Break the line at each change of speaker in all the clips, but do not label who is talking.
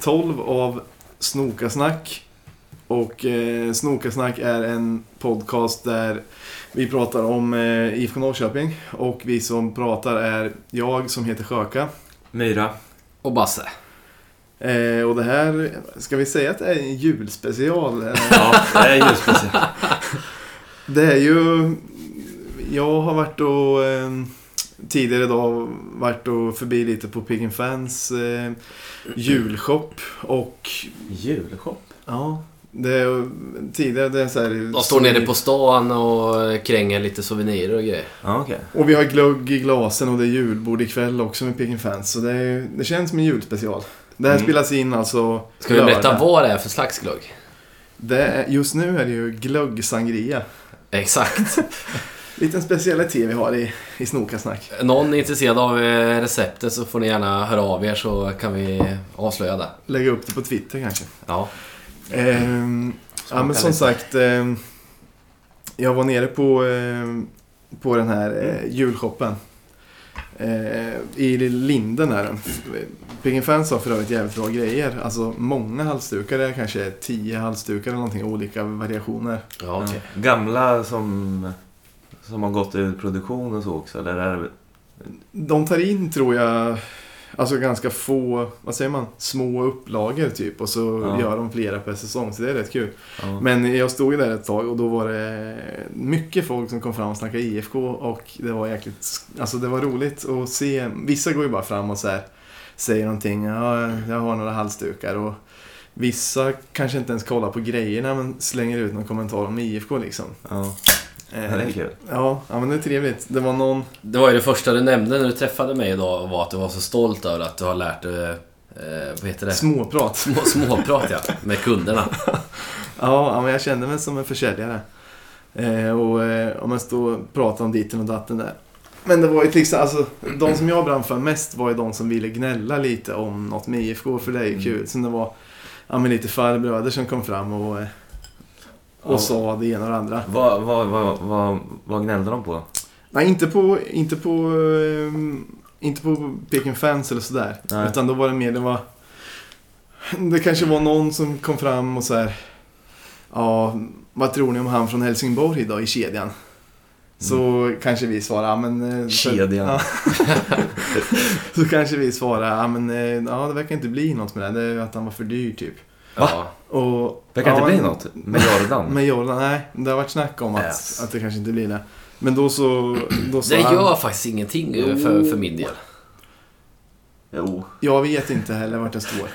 12 av Snokasnack. Och eh, Snokasnack är en podcast där vi pratar om eh, IFK Norrköping. Och vi som pratar är jag som heter Sjöka.
Myra.
Och Basse.
Eh, och det här, ska vi säga att det är en julspecial? Eh,
Ja, det är just precis.
Det är ju... Jag har varit och... Eh, tidigare idag varit och förbi lite på Pig Fans eh, julshop. Och
Julshop.
ja, det är, tidigare det är så här...
De står nere på stan och kränger lite souvenirer och grejer.
Ja, okej.
Och vi har glögg i glasen och det är julbord ikväll också med Pig Fans. Så det, är, det känns som en julspecial. Det här
Mm.
spelas in alltså...
Ska vi berätta
lördag.
vad det är för slags glögg?
Det är, just nu är det ju glöggsangria.
Exakt.
Liten specialitet vi har i, i Snokasnack.
Någon är intresserad av eh, receptet så får ni gärna höra av er så kan vi avslöja det.
Lägga upp det på Twitter kanske.
Ja.
Ehm, ja men som
lite.
sagt. ehm, jag var nere på, ehm, på den här eh, julshoppen. Eh, I Linden är den. Piggen Fans har för övrigt jävligt bra grejer. Alltså många halsdukar. Det är kanske tio halsdukar eller någonting. Olika variationer.
Ja, okej.
Ja. Gamla som, som har gått ur produktion och så också, eller är det...
De tar in tror jag. Alltså ganska få, vad säger man, små upplagor typ. Och så
Ja.
gör de flera per säsong. Så det är rätt kul.
Ja.
Men jag stod ju där ett tag och då var det mycket folk som kom fram och snackade IFK och det var jäkligt, alltså det var roligt att se. Vissa går ju bara fram och så här, säger någonting, ja, jag har några halsdukar och vissa kanske inte ens kollar på grejerna men slänger ut någon kommentar om IFK liksom.
Ja, det
Eh,
är kul.
Ja, ja men det är trevligt. Det var någon,
Det var ju det första du nämnde när du träffade mig idag var att du var så stolt över att du har lärt dig, eh, vad heter det?
småprat.
Små, småprat ja, med kunderna.
Ja, ja, men jag kände mig som en försäljare. Eh, och eh, om man står och pratar om ditten och datten där. Men det var ju till exempel, alltså, de som jag brann för mest var ju de som ville gnälla lite om något med IFK, för det är ju
Mm.
kul. Sen det var ja, men lite farbröder som kom fram och, eh, och
Ja.
sa det ena och det andra.
Vad, vad, vad, vad, vad gnällde de på?
Nej, inte på, inte på, ehm, inte på Peking Fans eller sådär.
Nej.
Utan då var det mer, det var... Det kanske var någon som kom fram och så här. Ja, vad tror ni om han från Helsingborg då i kedjan? Så kanske vi svarar, ja men... eh, så-
Mm. Kedjan.
Ja. så kanske vi svarar, ja men eh, ja, det verkar inte bli något med det. Det är ju att han var för dyr typ.
Va?
Ja.
Och,
Det kan
ja,
inte bli
men-
något med Jordan.
Med Jordan, nej. Det har varit snack om att,
Yes.
att det kanske inte blir det. Men då så... Då sa
Det
han-
gör faktiskt ingenting eh, för, för min del.
Jo.
Jag vet inte heller vart jag står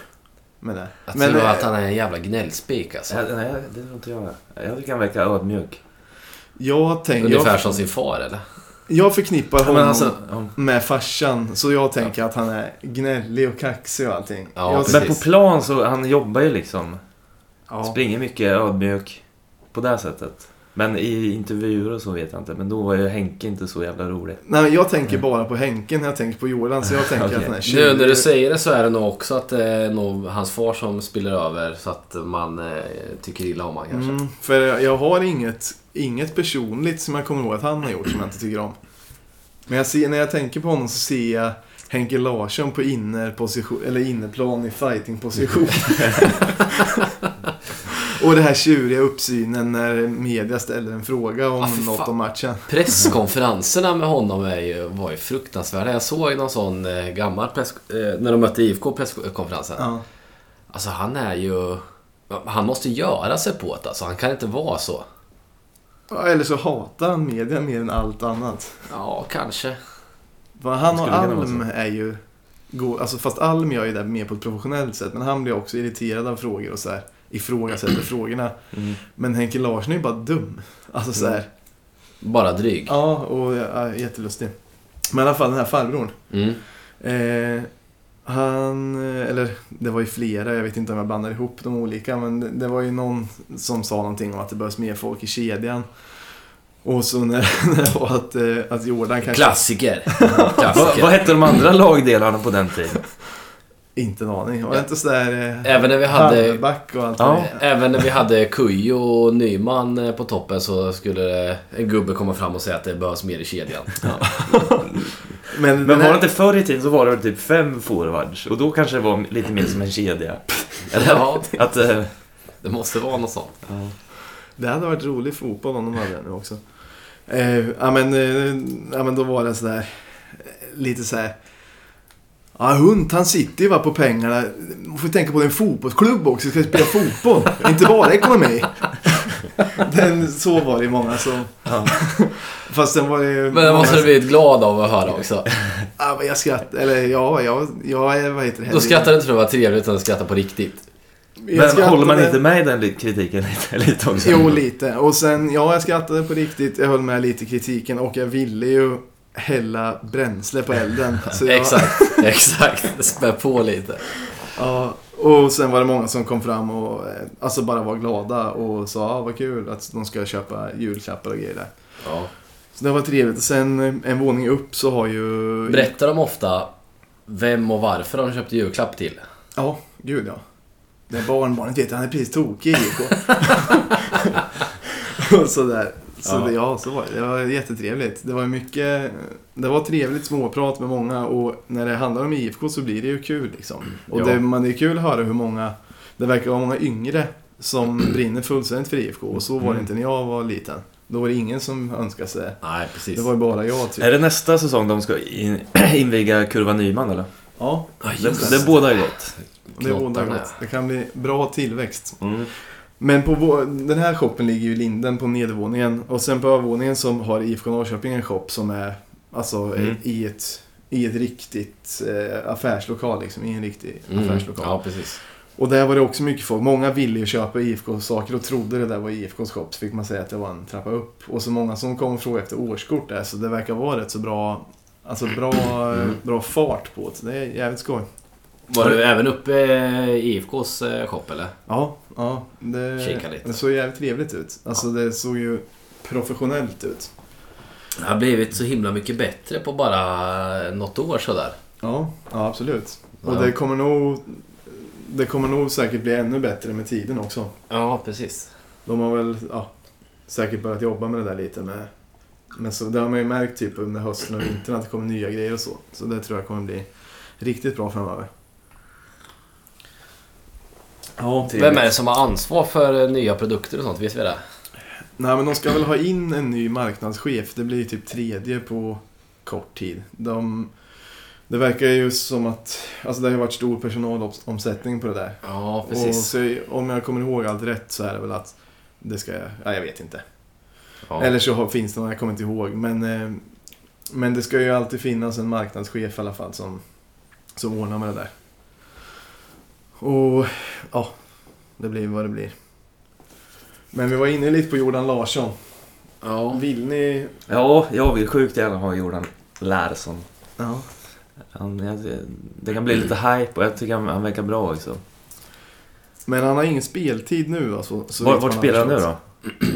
med det.
Jag
Men,
tror
eh,
att han är en jävla gnällspik alltså.
Nej, nej, det tror inte jag. Jag tycker han verkar ödmjuk.
jag, tänk,
Ungefär
jag,
som sin far eller?
jag förknippar
Men
honom
alltså, ja.
med farsan. Så jag tänker att han är gnällig och kaxig och allting.
Ja,
jag,
Men på
Precis.
plan så, han jobbar ju liksom.
ja.
Springer mycket, ödmjuk. På det sättet. Men i intervjuer och så vet jag inte. Men då var ju Henke inte så jävla rolig.
Nej, men jag tänker bara på Henken när jag tänker på Jordan. Så jag tänker
Okej.
att han är
Mm. Nu
tjurig.
när du säger det så är det nog också att det är nog hans far som spiller över så att man eh, tycker illa om honom kanske.
Mm, för jag har inget, inget personligt som jag kommer ihåg att han har gjort som jag inte tycker om. Men jag ser, när jag tänker på honom så ser jag Henke Larsson på innerposition, eller innerplan i fightingposition. Och det här tjuriga uppsynen när media ställer en fråga om
Ah, för
något
fan.
om matchen.
Presskonferenserna med honom är ju, var ju fruktansvärda. Jag såg någon sån eh, gammal press, eh, när de mötte IFK presskonferensen.
Ja.
Alltså han är ju... Han måste göra sig på det alltså. Han kan inte vara så.
Ja, Eller så hatar han media mer än allt annat.
Ja, kanske.
Vad han och
Skulle kunna vara
Alm är ju... go- Alltså, fast Alm gör ju det mer på ett professionellt sätt. Men han blir också irriterad av frågor och så här ifrågasätter frågorna.
Mm.
Men Henke Larsson är ju bara dum. Alltså så här,
Bara dryg.
Ja, och ja, jättelustig. Men i alla fall den här farbrorn.
Mm.
Eh, han, eh, eller det var ju flera, jag vet inte om jag blandar ihop de olika. Men det, det var ju någon som sa någonting om att det behövs mer folk i kedjan. Och så när, när det var att, eh, att Jordan kanske...
Klassiker.
Va,
Klassiker.
vad hette de andra lagdelarna på den tiden?
Inte en aning. Var det inte sådär... Eh,
Även när vi hade...
Hallback och allt
Ja.
vad det är.
Även när vi hade Kujo och Nyman eh, på toppen så skulle det- en gubbe komma fram och säga att det behövs mer i kedjan.
Men, den
Men var det
här,
inte förr i tiden så var det väl typ fem forwards. Och då kanske det var lite mer som en kedja. Eller,
Ja.
att, eh,
Det måste vara något sånt.
ja.
Det hade varit rolig fotboll om de hade det nu också. Eh, ja, men, eh, ja, men då var det sådär, eh, lite såhär. Ja, hund, han sitter ju bara på pengarna. Man får tänka på det är en fotbollsklubb också. Ska spela fotboll, inte bara ekonomi. Den, så var det ju många som...
Ja.
Fast sen var det ju...
Men det måste du blivit glad av att höra också.
Ja, men jag skrattade. Eller ja, jag, jag, vad heter det?
Då skrattar du inte för att vara trevligt utan du skrattar på riktigt.
Jag
Men håller man
skrattade-
inte med i den li- kritiken lite, lite också?
Jo, lite. Och sen, ja, jag skrattade på riktigt. Jag höll med lite i kritiken och jag ville ju hälla bränsle på elden. Så jag,
Exakt, exakt. Spä på lite.
Ja, och sen var det många som kom fram och eh, alltså bara var glada och sa ah, vad kul att de ska köpa julklappar och grejer där.
Ja.
Så det var trevligt. Och sen eh, en våning upp så har ju...
Berättar de ofta vem och varför de köpte julklapp till?
Ja, gud ja. Det är barnbarnet vet, han är precis tokig i IFK. och sådär. Så
Ja.
det, ja, så var det. Det var jättetrevligt. Det var mycket... Det var trevligt småprat med många och när det handlar om IFK så blir det ju kul liksom. Och
Ja.
det, man, det är kul att höra hur många... Det verkar vara många yngre som brinner fullständigt för IFK och så var det inte när jag var liten. Då var det ingen som önskade sig.
Nej, precis.
Det var ju bara jag typ.
Är det nästa säsong de ska in, inviga Kurva Nyman eller?
Ja,
Ja, just
Det, det båda är gott.
det är båda
Knottarna.
gott. Det kan bli bra tillväxt.
Mm.
Men på vår, den här shoppen ligger ju i Linden på nedervåningen och sen på övervåningen som har IFK Norrköping en shop som är alltså
Mm.
i, ett, i ett riktigt eh, affärslokal liksom, i en riktig
Mm.
affärslokal.
Ja, precis.
Och där var det också mycket folk. Många ville ju köpa IFK-saker och trodde det där var IFKs shop så fick man säga att det var en trappa upp. Och så många som kom och frågade efter årskort där så det verkar vara rätt så bra, alltså bra,
Mm.
bra fart på det. Så det är jävligt skoj.
Var du även uppe i IFKs eh, shop eller?
Ja, ja det,
Kika lite.
det såg jävligt trevligt ut. Alltså det såg ju professionellt ut.
Det har blivit så himla mycket bättre på bara något år sådär.
Ja, ja absolut. Och
Ja.
det kommer nog... Det kommer nog säkert bli ännu bättre med tiden också.
Ja, precis.
De har väl ja, säkert börjat jobba med det där lite med... Men så, det har man ju märkt typ under hösten och vintern att det kommer nya grejer och så. Så det tror jag kommer bli riktigt bra framöver. Ja,
Vem är det som har ansvar för eh, nya produkter och sånt? Vet vi det?
Nej men de ska väl ha in en ny marknadschef. Det blir ju typ tredje på kort tid. De, det verkar ju som att... Alltså det har ju varit stor personalomsättning på det där.
Ja,
Och
precis.
så, om jag kommer ihåg allt rätt så är det väl att det ska jag... Ja, jag vet inte.
Ja.
Eller så har- finns det någon, jag kommer inte ihåg. Men, eh, men det ska ju alltid finnas en marknadschef i alla fall som, som ordnar med det där. Och ja, det blir vad det blir. Men vi var inne lite på Jordan Larsson.
Ja.
Vill ni...
Ja, jag vill sjukt gärna ha Jordan Larsson.
Ja.
Han, jag, det kan bli lite hype och jag tycker han, han verkar bra också.
Men han har ingen speltid nu alltså, så
Var,
vitt
vart
man har
spelar han nu
förstått.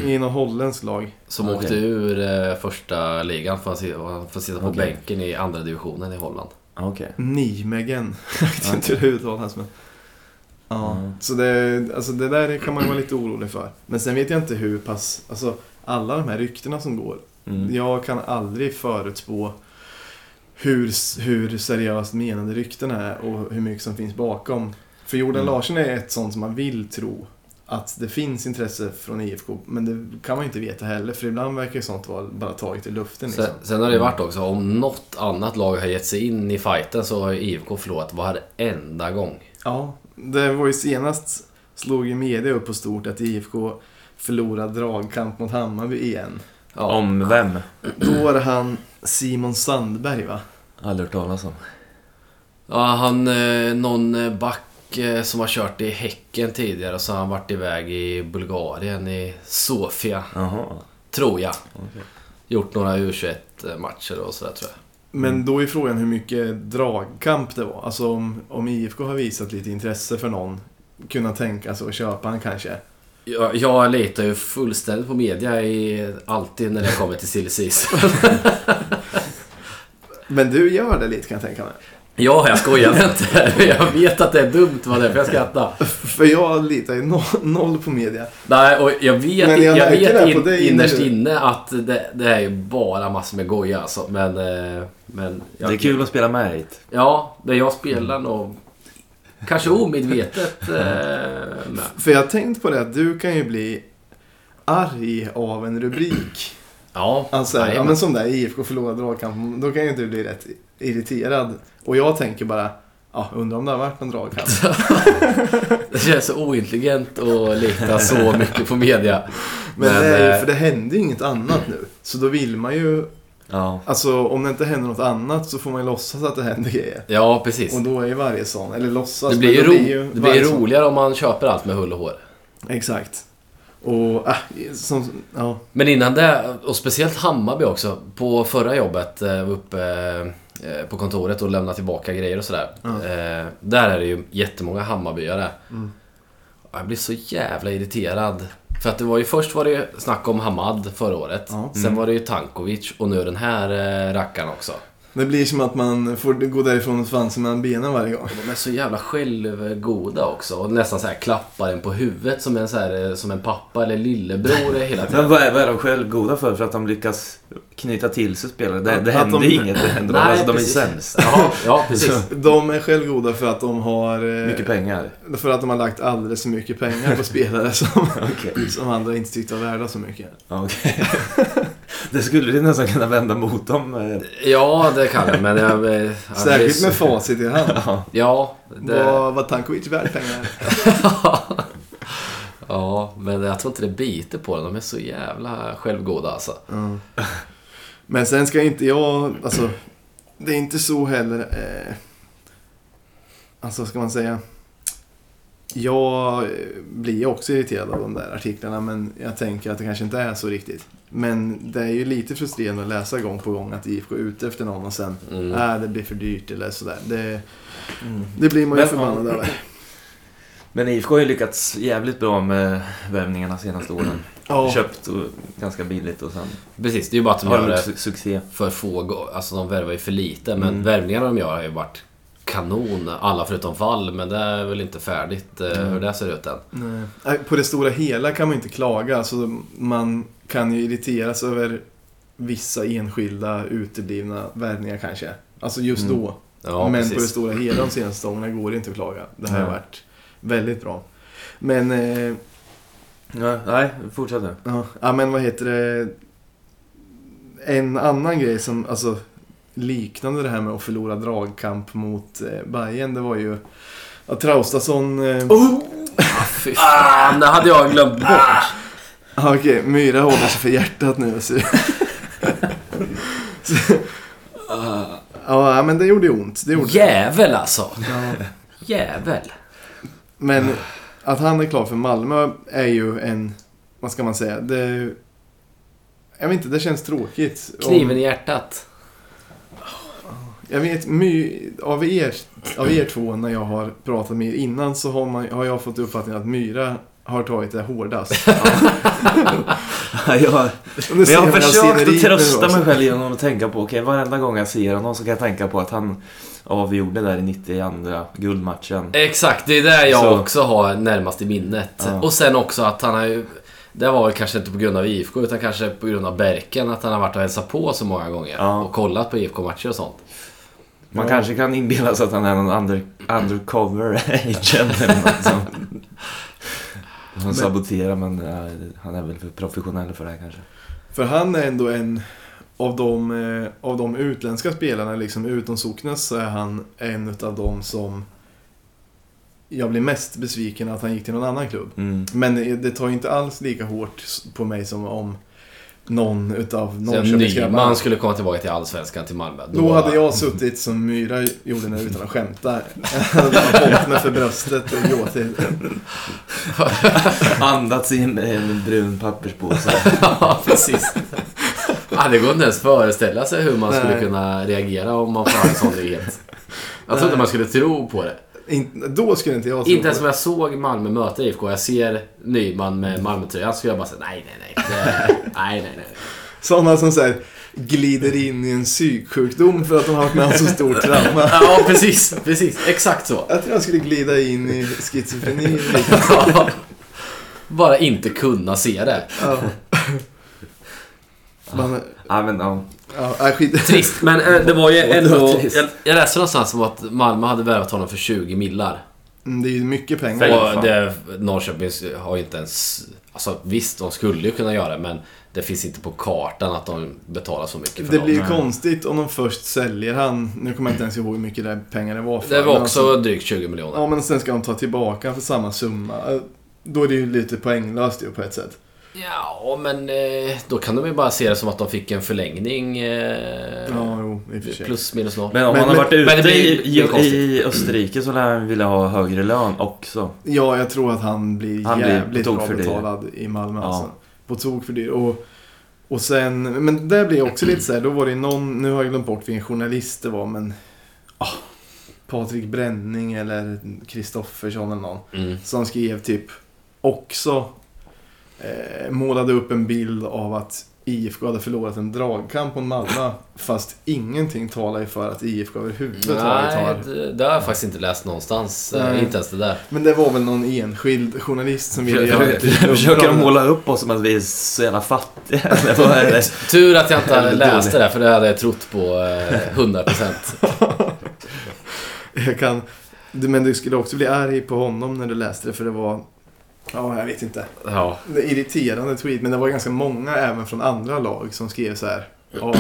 då?
I något holländskt lag.
Som
Okej.
åkte ur eh, första ligan för att sitta, han får sitta på
Okej.
bänken i andra divisionen i Holland.
Ah, Okej.
Nijmegen. Jag vet inte hur det uttalas men... Ja,
Mm.
så det, alltså det där kan man ju vara lite orolig för. Men sen vet jag inte hur pass... Alltså alla de här ryktena som går.
Mm.
Jag kan aldrig förutspå hur, hur seriöst menade ryktena är och hur mycket som finns bakom. För Jordan
Mm.
Larsson är ett sånt som man vill tro att det finns intresse från IFK. Men det kan man ju inte veta heller för ibland verkar ju sånt vara bara taget i luften. Liksom.
Sen, sen har det ju varit också, om något annat lag har gett sig in i fighten så har ju IFK förlorat varenda gång.
Ja, det var ju senast slog ju media upp på stort att IFK förlorade dragkamp mot Hammarby igen.
Ja.
Om vem?
Då var det han Simon Sandberg va?
Aldrig hört talas om.
Ja, han, eh, någon eh, back eh, som har kört i Häcken tidigare och så har han varit iväg i Bulgarien i Sofia,
Jaha.
tror jag.
okej.
Gjort några U21-matcher och sådär tror jag.
Men
Mm.
då är frågan hur mycket dragkamp det var. Alltså om, om IFK har visat lite intresse för någon, kunna tänka sig att köpa han kanske.
Jag, jag litar ju fullständigt på media i, alltid när det kommer till silly season.
Men du gör det lite kan jag tänka mig.
Ja, jag skojar inte. Men Jag vet att det är dumt, vad det är för jag skrattar.
För jag litar ju noll, noll på media.
Nej, och jag vet,
Men jag
jag
märker det
vet
här
in,
på dig
innerst
nu.
inne att det, det är ju bara massor med goja alltså. Men... eh, men
Det är kul att spela med hit.
Ja, det jag spelar nog Kanske omedvetet. eh, med.
För jag har tänkt på det att du kan ju bli arg av en rubrik.
Ja,
Alltså, ja,
jajamän.
men som där IFK förlorade dragkamp, då kan ju du bli rätt irriterad. Och jag tänker bara, ja, undrar om det har varit någon dragkamp.
det känns så ointelligent att lita så mycket på media.
Men,
Men,
det är
eh,
ju, för det händer ju inget annat nu. Så då vill man ju,
Ja.
alltså om det inte händer något annat så får man ju låtsas att det händer grejer.
Ja, precis.
Och då är ju varje sån, eller låtsas.
Det blir
men då
ju, ro, det blir
varje
ju
sån-
roligare om man köper allt med hull och hår.
Exakt. Och, äh, som, ja.
Men innan det, och speciellt Hammarby också. På förra jobbet eh, var uppe eh, på kontoret och lämnade tillbaka grejer och sådär.
Ja.
Eh, Där är det ju jättemånga Hammarbyare.
Mm.
Jag blir så jävla irriterad. För att det var ju först var det ju snack om Hamad förra året.
Ja.
Sen var det ju Tankovic och nu den här eh, rackaren också.
Det blir som att man får gå därifrån och svansen mellan benen varje gång.
De är så jävla självgoda också och nästan så här klappar en på huvudet som en, så här, eh, som en pappa eller lillebror hela tiden.
Men vad är, vad är de själv goda för? För att de lyckas knyta till sig spelare? Det, det
Att
händer
de-
inget. Det händer.
Nej,
alltså, de är
precis.
sämst.
Ja, ja precis.
De är självgoda för att de har... eh,
Mycket pengar.
För att de har lagt alldeles för mycket pengar på spelare som,
Okej.
som andra inte tyckte var värda så mycket.
Ja, okej. det skulle du nästan kunna vända mot dem. eh.
Ja, det kan jag, men jag... eh, ja,
Särskilt
det är
med
så-
facit i hand.
Ja, det,
Vad var Tankovic värd pengar?
ja, men jag tror inte det biter på dem. De är så jävla självgoda alltså.
Ja. Men sen ska inte jag, alltså, det är inte så heller, eh, alltså ska man säga, jag eh, blir också irriterad av de där artiklarna men jag tänker att det kanske inte är så riktigt. Men det är ju lite frustrerande att läsa gång på gång att IFK är ute efter någon och sen,
Mm.
äh, det blir för dyrt eller sådär. Det, det blir man ju
Men-
förbannad över.
Men IFK har ju lyckats jävligt bra med värvningarna senaste åren.
Ja,
Köpt och, ganska billigt och sen
Precis, det är ju bara att de
har
gör
de
det
su- succé.
för få gånger. Alltså de värvar ju för lite, men
Mm.
värvningarna de gör har ju varit kanon. Alla förutom Wall, men det är väl inte färdigt eh,
Mm.
hur det ser ut än.
nej. Nej, Äh, På det stora hela kan man ju inte klaga. Alltså, man kan ju irriteras över vissa enskilda uteblivna värvningar kanske. Alltså just
Mm.
då.
Ja,
Men på det
precis.
stora hela de senaste åren går det inte att klaga. Det här har
Nej.
varit väldigt bra. Men, eh,
Ja, nej, fortsätt nu.
ja, ja, men vad heter det? En annan grej som, alltså liknande det här med att förlora dragkamp mot eh, Bayern det var ju att Traustason... Eh,
Ah, fy fan, det hade jag
Ah!
glömt bort.
Ja, Okej, Myra håller sig för hjärtat nu. Så... Så- ja, men det gjorde ju ont. Det gjorde det.
Jävel alltså!
Ja.
Jävel!
Men att han är klar för Malmö är ju en, vad ska man säga, det... Jag vet inte, det känns tråkigt. Om-
Kniven i hjärtat.
Jag vet, my, av, er, av er två, när jag har pratat med er innan, så har, man, har jag fått uppfattningen att Myra har tagit det hårdast.
jag har,
Och nu
men jag
ser
har
man
försökt att
sceneriet nu
trösta
också.
mig själv genom att tänka på, okej varenda gång jag ser honom så kan jag tänka på att han avgjorde där i 92 guldmatchen.
Exakt, det är det jag
Så-
också har närmast i minnet.
Ja.
Och sen också att han har ju... Det var väl kanske inte på grund av IFK utan kanske på grund av Berken att han har varit och hälsat på så många gånger.
Ja.
Och kollat på IFK-matcher och sånt.
Man
Ja.
kanske kan inbilla sig att han är någon under, undercover agent eller något sånt. Han saboterar men eh, han är väl för professionell för det här kanske.
För han är ändå en av de, eh, av de utländska spelarna liksom utom Socknes så är han en av de som jag blir mest besviken att han gick till någon annan klubb.
Mm.
Men det- det tar ju inte alls lika hårt s- på mig som om någon utav
Så Nyman
Norrköpingsgrabbarna.
skulle komma tillbaka till Allsvenskan, till Malmö.
Då hade jag suttit som Myra gjorde nu utan att skämta. Jag hade hållit mig för bröstet och gråtit.
Andats i en, en brun papperspåse.
ja, precis. Ja, det går inte ens föreställa sig hur man skulle
Nej.
kunna reagera om man får höra en sån nyhet. Jag tror inte
Nej.
man skulle tro på det.
In- Då skulle inte jag tro
Inte ens
på
om jag såg Malmö möta IFK. Jag ser Nyman med Malmötröjan så skulle jag bara säga nej, nej, nej. Det, nej, nej, nej.
Sådana som så här, glider in i en psyksjukdom för att de har varit med om så stort trauma.
Ja, precis. precis. Exakt så.
Jag tror jag skulle glida in i schizofreni.
Ja. Bara inte kunna se det.
Ja. Man,
ja, men, ja.
ja, nej, skit.
Trist, men eh, det var ju
Det var
ändå...
trist.
Jag, jag läste någonstans om att Malmö hade värvat honom för 20 millar.
Mm, Det är ju mycket pengar.
Fej-
Och
fan.
det, Norrköping har ju inte ens... Alltså visst, de skulle ju kunna göra det, men det finns inte på kartan att de betalar så mycket för
Det
någon.
blir ju
Nej.
konstigt om de först säljer han. Nu kommer jag inte ens ihåg hur mycket det pengar det var för.
Det var
men
också
alltså-
drygt 20 miljoner.
Ja, men sen ska de ta tillbaka för samma summa. Eh, Då är det ju lite poänglöst ju på ett sätt.
Ja, men eh, då kan de ju bara se det som att de fick en förlängning. Eh,
Ja, jo, i och för sig.
plus minus noll.
Men om
Men-
han har
men-
varit ute
men det blir-
i,
blir konstigt.
i, i Österrike så lär han vilja ha högre lön också.
Ja, jag tror att han blir
Han blir
jävligt
på tok
bra
för dyr.
betalad i Malmö.
Ja.
Alltså. På tok för dyr. Och, och sen, men där blir jag också lite så här, då var det någon, nu har jag glömt bort vilken journalist det var, men ah, Patrik Bränning eller Kristoffersson eller någon.
Mm.
Som skrev typ också, eh, målade upp en bild av att IFK hade förlorat en dragkamp mot Malmö. fast ingenting talar ju för att IFK överhuvudtaget har
Nej, det, det har jag faktiskt inte läst någonstans. Eh,
Nej.
Inte ens det där.
Men det var väl någon enskild journalist som ville göra ett litet
Försöker de
uppdrag.
måla upp oss som att vi är så jävla fattiga? Eller vad är det?
Tur att jag inte
Väldigt
läste
dålig.
det, för det hade jag trott på eh, 100%.
Jag kan... du- Men du skulle också bli arg på honom när du läste det för det var... Ja, jag vet inte.
Ja.
Det är irriterande tweet, men det var ganska många även från andra lag som skrev så här. Ja,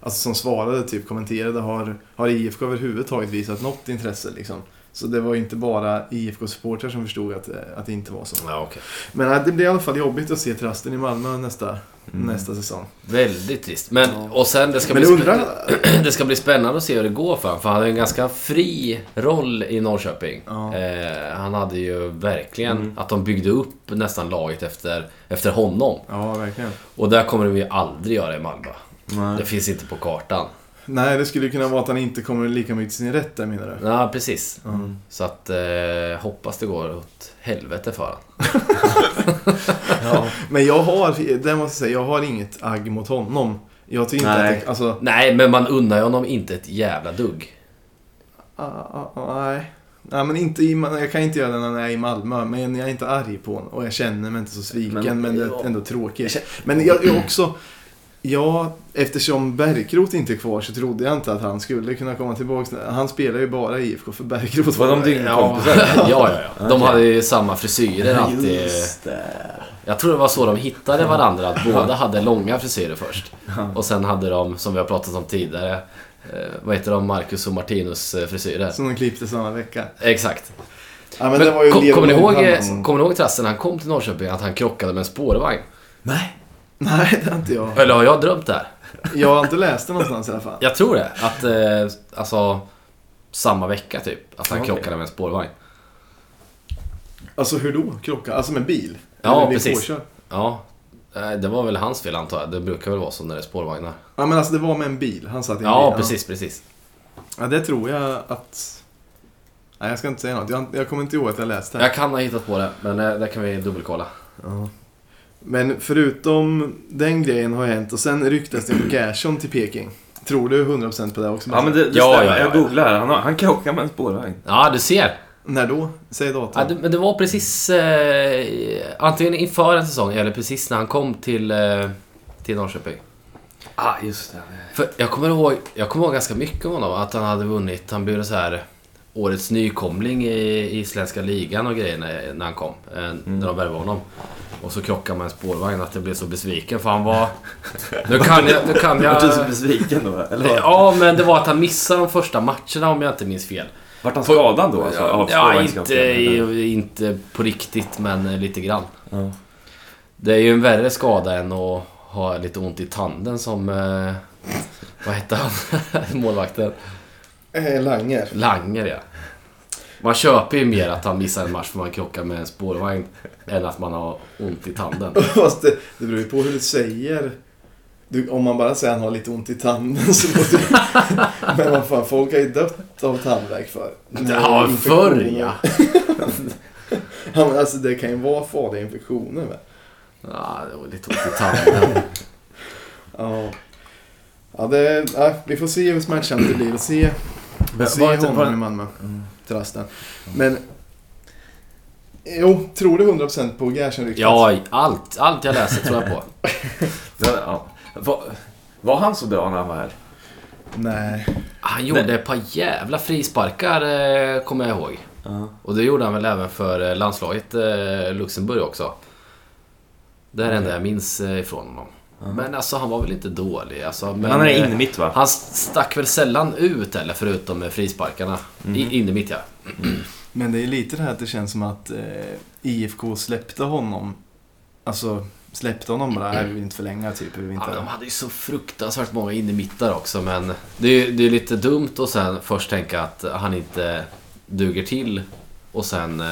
alltså som svarade, typ kommenterade. Har, har IFK överhuvudtaget visat något intresse liksom? Så det var ju inte bara IFK-supportrar som förstod att, eh, att det inte var så.
ja okej.
Men eh, det blir i alla fall jobbigt att se Trasten i Malmö nästa,
Mm.
nästa säsong.
Väldigt trist. Men,
Ja.
och sen, det ska,
Men
bli
undrar...
spä- det ska bli spännande att se hur det går för honom. För han har ju en ganska fri roll i Norrköping.
Ja.
Eh, han hade ju verkligen
Mm.
att de byggde upp nästan laget efter, efter honom.
Ja, verkligen.
Och där kommer de ju aldrig göra i Malmö. Det
Nej.
finns inte på kartan.
Nej, det skulle kunna vara att han inte kommer lika mycket till sin rätt där menar du?
Ja, precis.
Mm.
Så att eh, hoppas det går åt helvete för honom.
Ja.
Men jag har, det måste jag säga, jag har inget agg mot honom. Jag tycker inte
Nej.
att det, alltså,
Nej, men man unnar ju honom inte ett jävla dugg.
ah, ah, ah, nej. Nej, men inte i, Ma- jag kan inte göra det när jag är i Malmö, men jag är inte arg på honom. Och jag känner mig inte så sviken, men,
Men-
det
ja.
är ändå tråkigt. Men jag är också, ja, eftersom Bärkroth inte är kvar så trodde jag inte att han skulle kunna komma tillbaka. Han spelar ju bara i IFK för Bärkroth
Var de dina kompisar?
ja, ja, ja. De hade ju samma frisyrer alltid.
Just det.
Jag tror det var så de hittade varandra, att båda hade långa frisyrer först. Och sen hade de, som vi har pratat om tidigare, eh, vad heter de, Marcus och Martinus eh, frisyrer.
Som de klippte samma vecka.
Exakt.
Ja, men
Men
det var ju
kom,
Leo
kommer, ni ihåg,
Lundhammer.
eh, kommer ni ihåg Trassen när han kom till Norrköping, att han krockade med en spårvagn?
Nej.
Nej, det har inte jag.
Eller har jag drömt det här?
Jag har inte läst det någonstans i alla fall.
Jag tror det. Att, eh, alltså, samma vecka typ, att han
Okej.
krockade med en spårvagn.
Alltså hur då? Krocka? Alltså med bil?
Ja,
Eller blir
precis.
påkörd?
Ja, eh, det var väl hans fel antar jag. Det brukar väl vara så när det är spårvagnar.
Ja, men alltså det var med en bil. Han satt i en
Ja,
bil.
precis, precis.
Ja, det tror jag att... Nej, jag ska inte säga något. Jag, jag kommer inte ihåg att jag läste det. här.
Jag kan ha hittat på det, men eh, det kan vi dubbelkolla.
Ja. Men förutom den grejen har hänt och sen ryktas det om Gerson till Peking. Tror du 100% på det också?
Ja men det, det
Ja,
stämmer.
ja, ja,
Jag
ja.
googlar. Han, har- han krockar med en spårvagn.
Ja, du ser.
När då? Säg datum.
Ja, det, men det var precis eh, antingen inför en säsong eller precis när han kom till, eh, till Norrköping.
Ah, just det.
För jag kommer ihåg, jag kommer ihåg ganska mycket om honom. Att han hade vunnit, han blev så här årets nykomling i isländska ligan och grejer när, när han kom. Eh,
Mm.
När de värvade honom. Och så krockade man en spårvagn att jag blev så besviken för han var... Nu kan jag... Nu kan
Vart du så
jag...
besviken då? Eller vad?
Ja, men det var att han missade de första matcherna om jag inte minns fel.
Vart han skadad då? Alltså,
Ja,
av
ja inte,
spårvagnskrocken?
inte på riktigt, men eh, lite grann.
Ja.
Det är ju en värre skada än att ha lite ont i tanden som... Eh, vad hette han? Målvakten?
Eh, Langer.
Langer ja. Man köper ju mer att han missar en match för man krockar med en spårvagn än att man har ont i tanden.
Fast det, det beror ju på hur du säger. Du, om man bara säger att han har lite ont i tanden så låter det... Men vad fan, folk har ju dött av tandvärk för.
Ja, förr ja.
Ja, men alltså det kan ju vara farliga infektioner med.
ja. Det var lite ont i tanden.
Ja. Ja, det, ja, vi får se hur smärtsamt det blir. Se, se
Var-
honom
var-
i Malmö.
Mm.
Till rasten. Men... Jo, tror du 100% på Gerson
Ja, allt, allt jag läser tror jag på.
Ja, ja. Var, var han så bra när han var här?
Nej.
Han gjorde ett par jävla frisparkar, eh, kommer jag ihåg.
Ja.
Och det gjorde han väl även för eh, landslaget eh, Luxemburg också. Det här är det enda jag minns eh, ifrån honom. Men alltså han var väl inte dålig. Alltså, men,
Mm. han är
eh,
inne mitt va?
han stack väl sällan ut eller förutom med frisparkarna.
Mhm.
I, in i mitt ja.
Men det är lite det här att det känns som att eh, IFK släppte honom. Alltså släppte honom bara, här vi vill inte förlänga typ. Vi vill
ja
inte...
men de hade ju så fruktansvärt många in i mittar också men det är ju det är lite dumt att sen först tänka att han inte duger till och sen eh,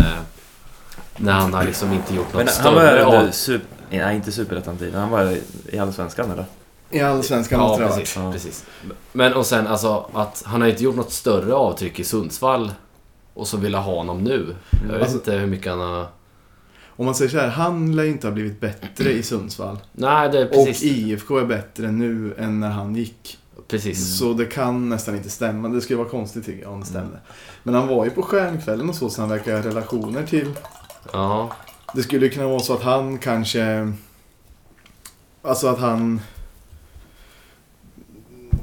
när han har liksom inte gjort något
Men han var
större av-
under super... Nej, inte superettan-tiden. Han var i Allsvenskan eller?
I Allsvenskan
Ja,
måste det ha varit.
precis,
Ja.
precis. Men och sen alltså att han har inte gjort något större avtryck i Sundsvall och så vill jag ha honom nu. Jag vet
Alltså-
Mm.
inte hur mycket han har...
Om man säger så här, han lär ju inte ha blivit bättre i Sundsvall.
Nej, det är
Och
precis.
IFK är bättre nu än när han gick.
Precis.
Så det kan nästan inte stämma. Det skulle vara konstigt tycker jag om det
Mm.
stämde. Men han var ju på stjärnkvällen och så, så han verkar ha relationer till
Ja.
Det skulle ju kunna vara så att han kanske... Alltså att han...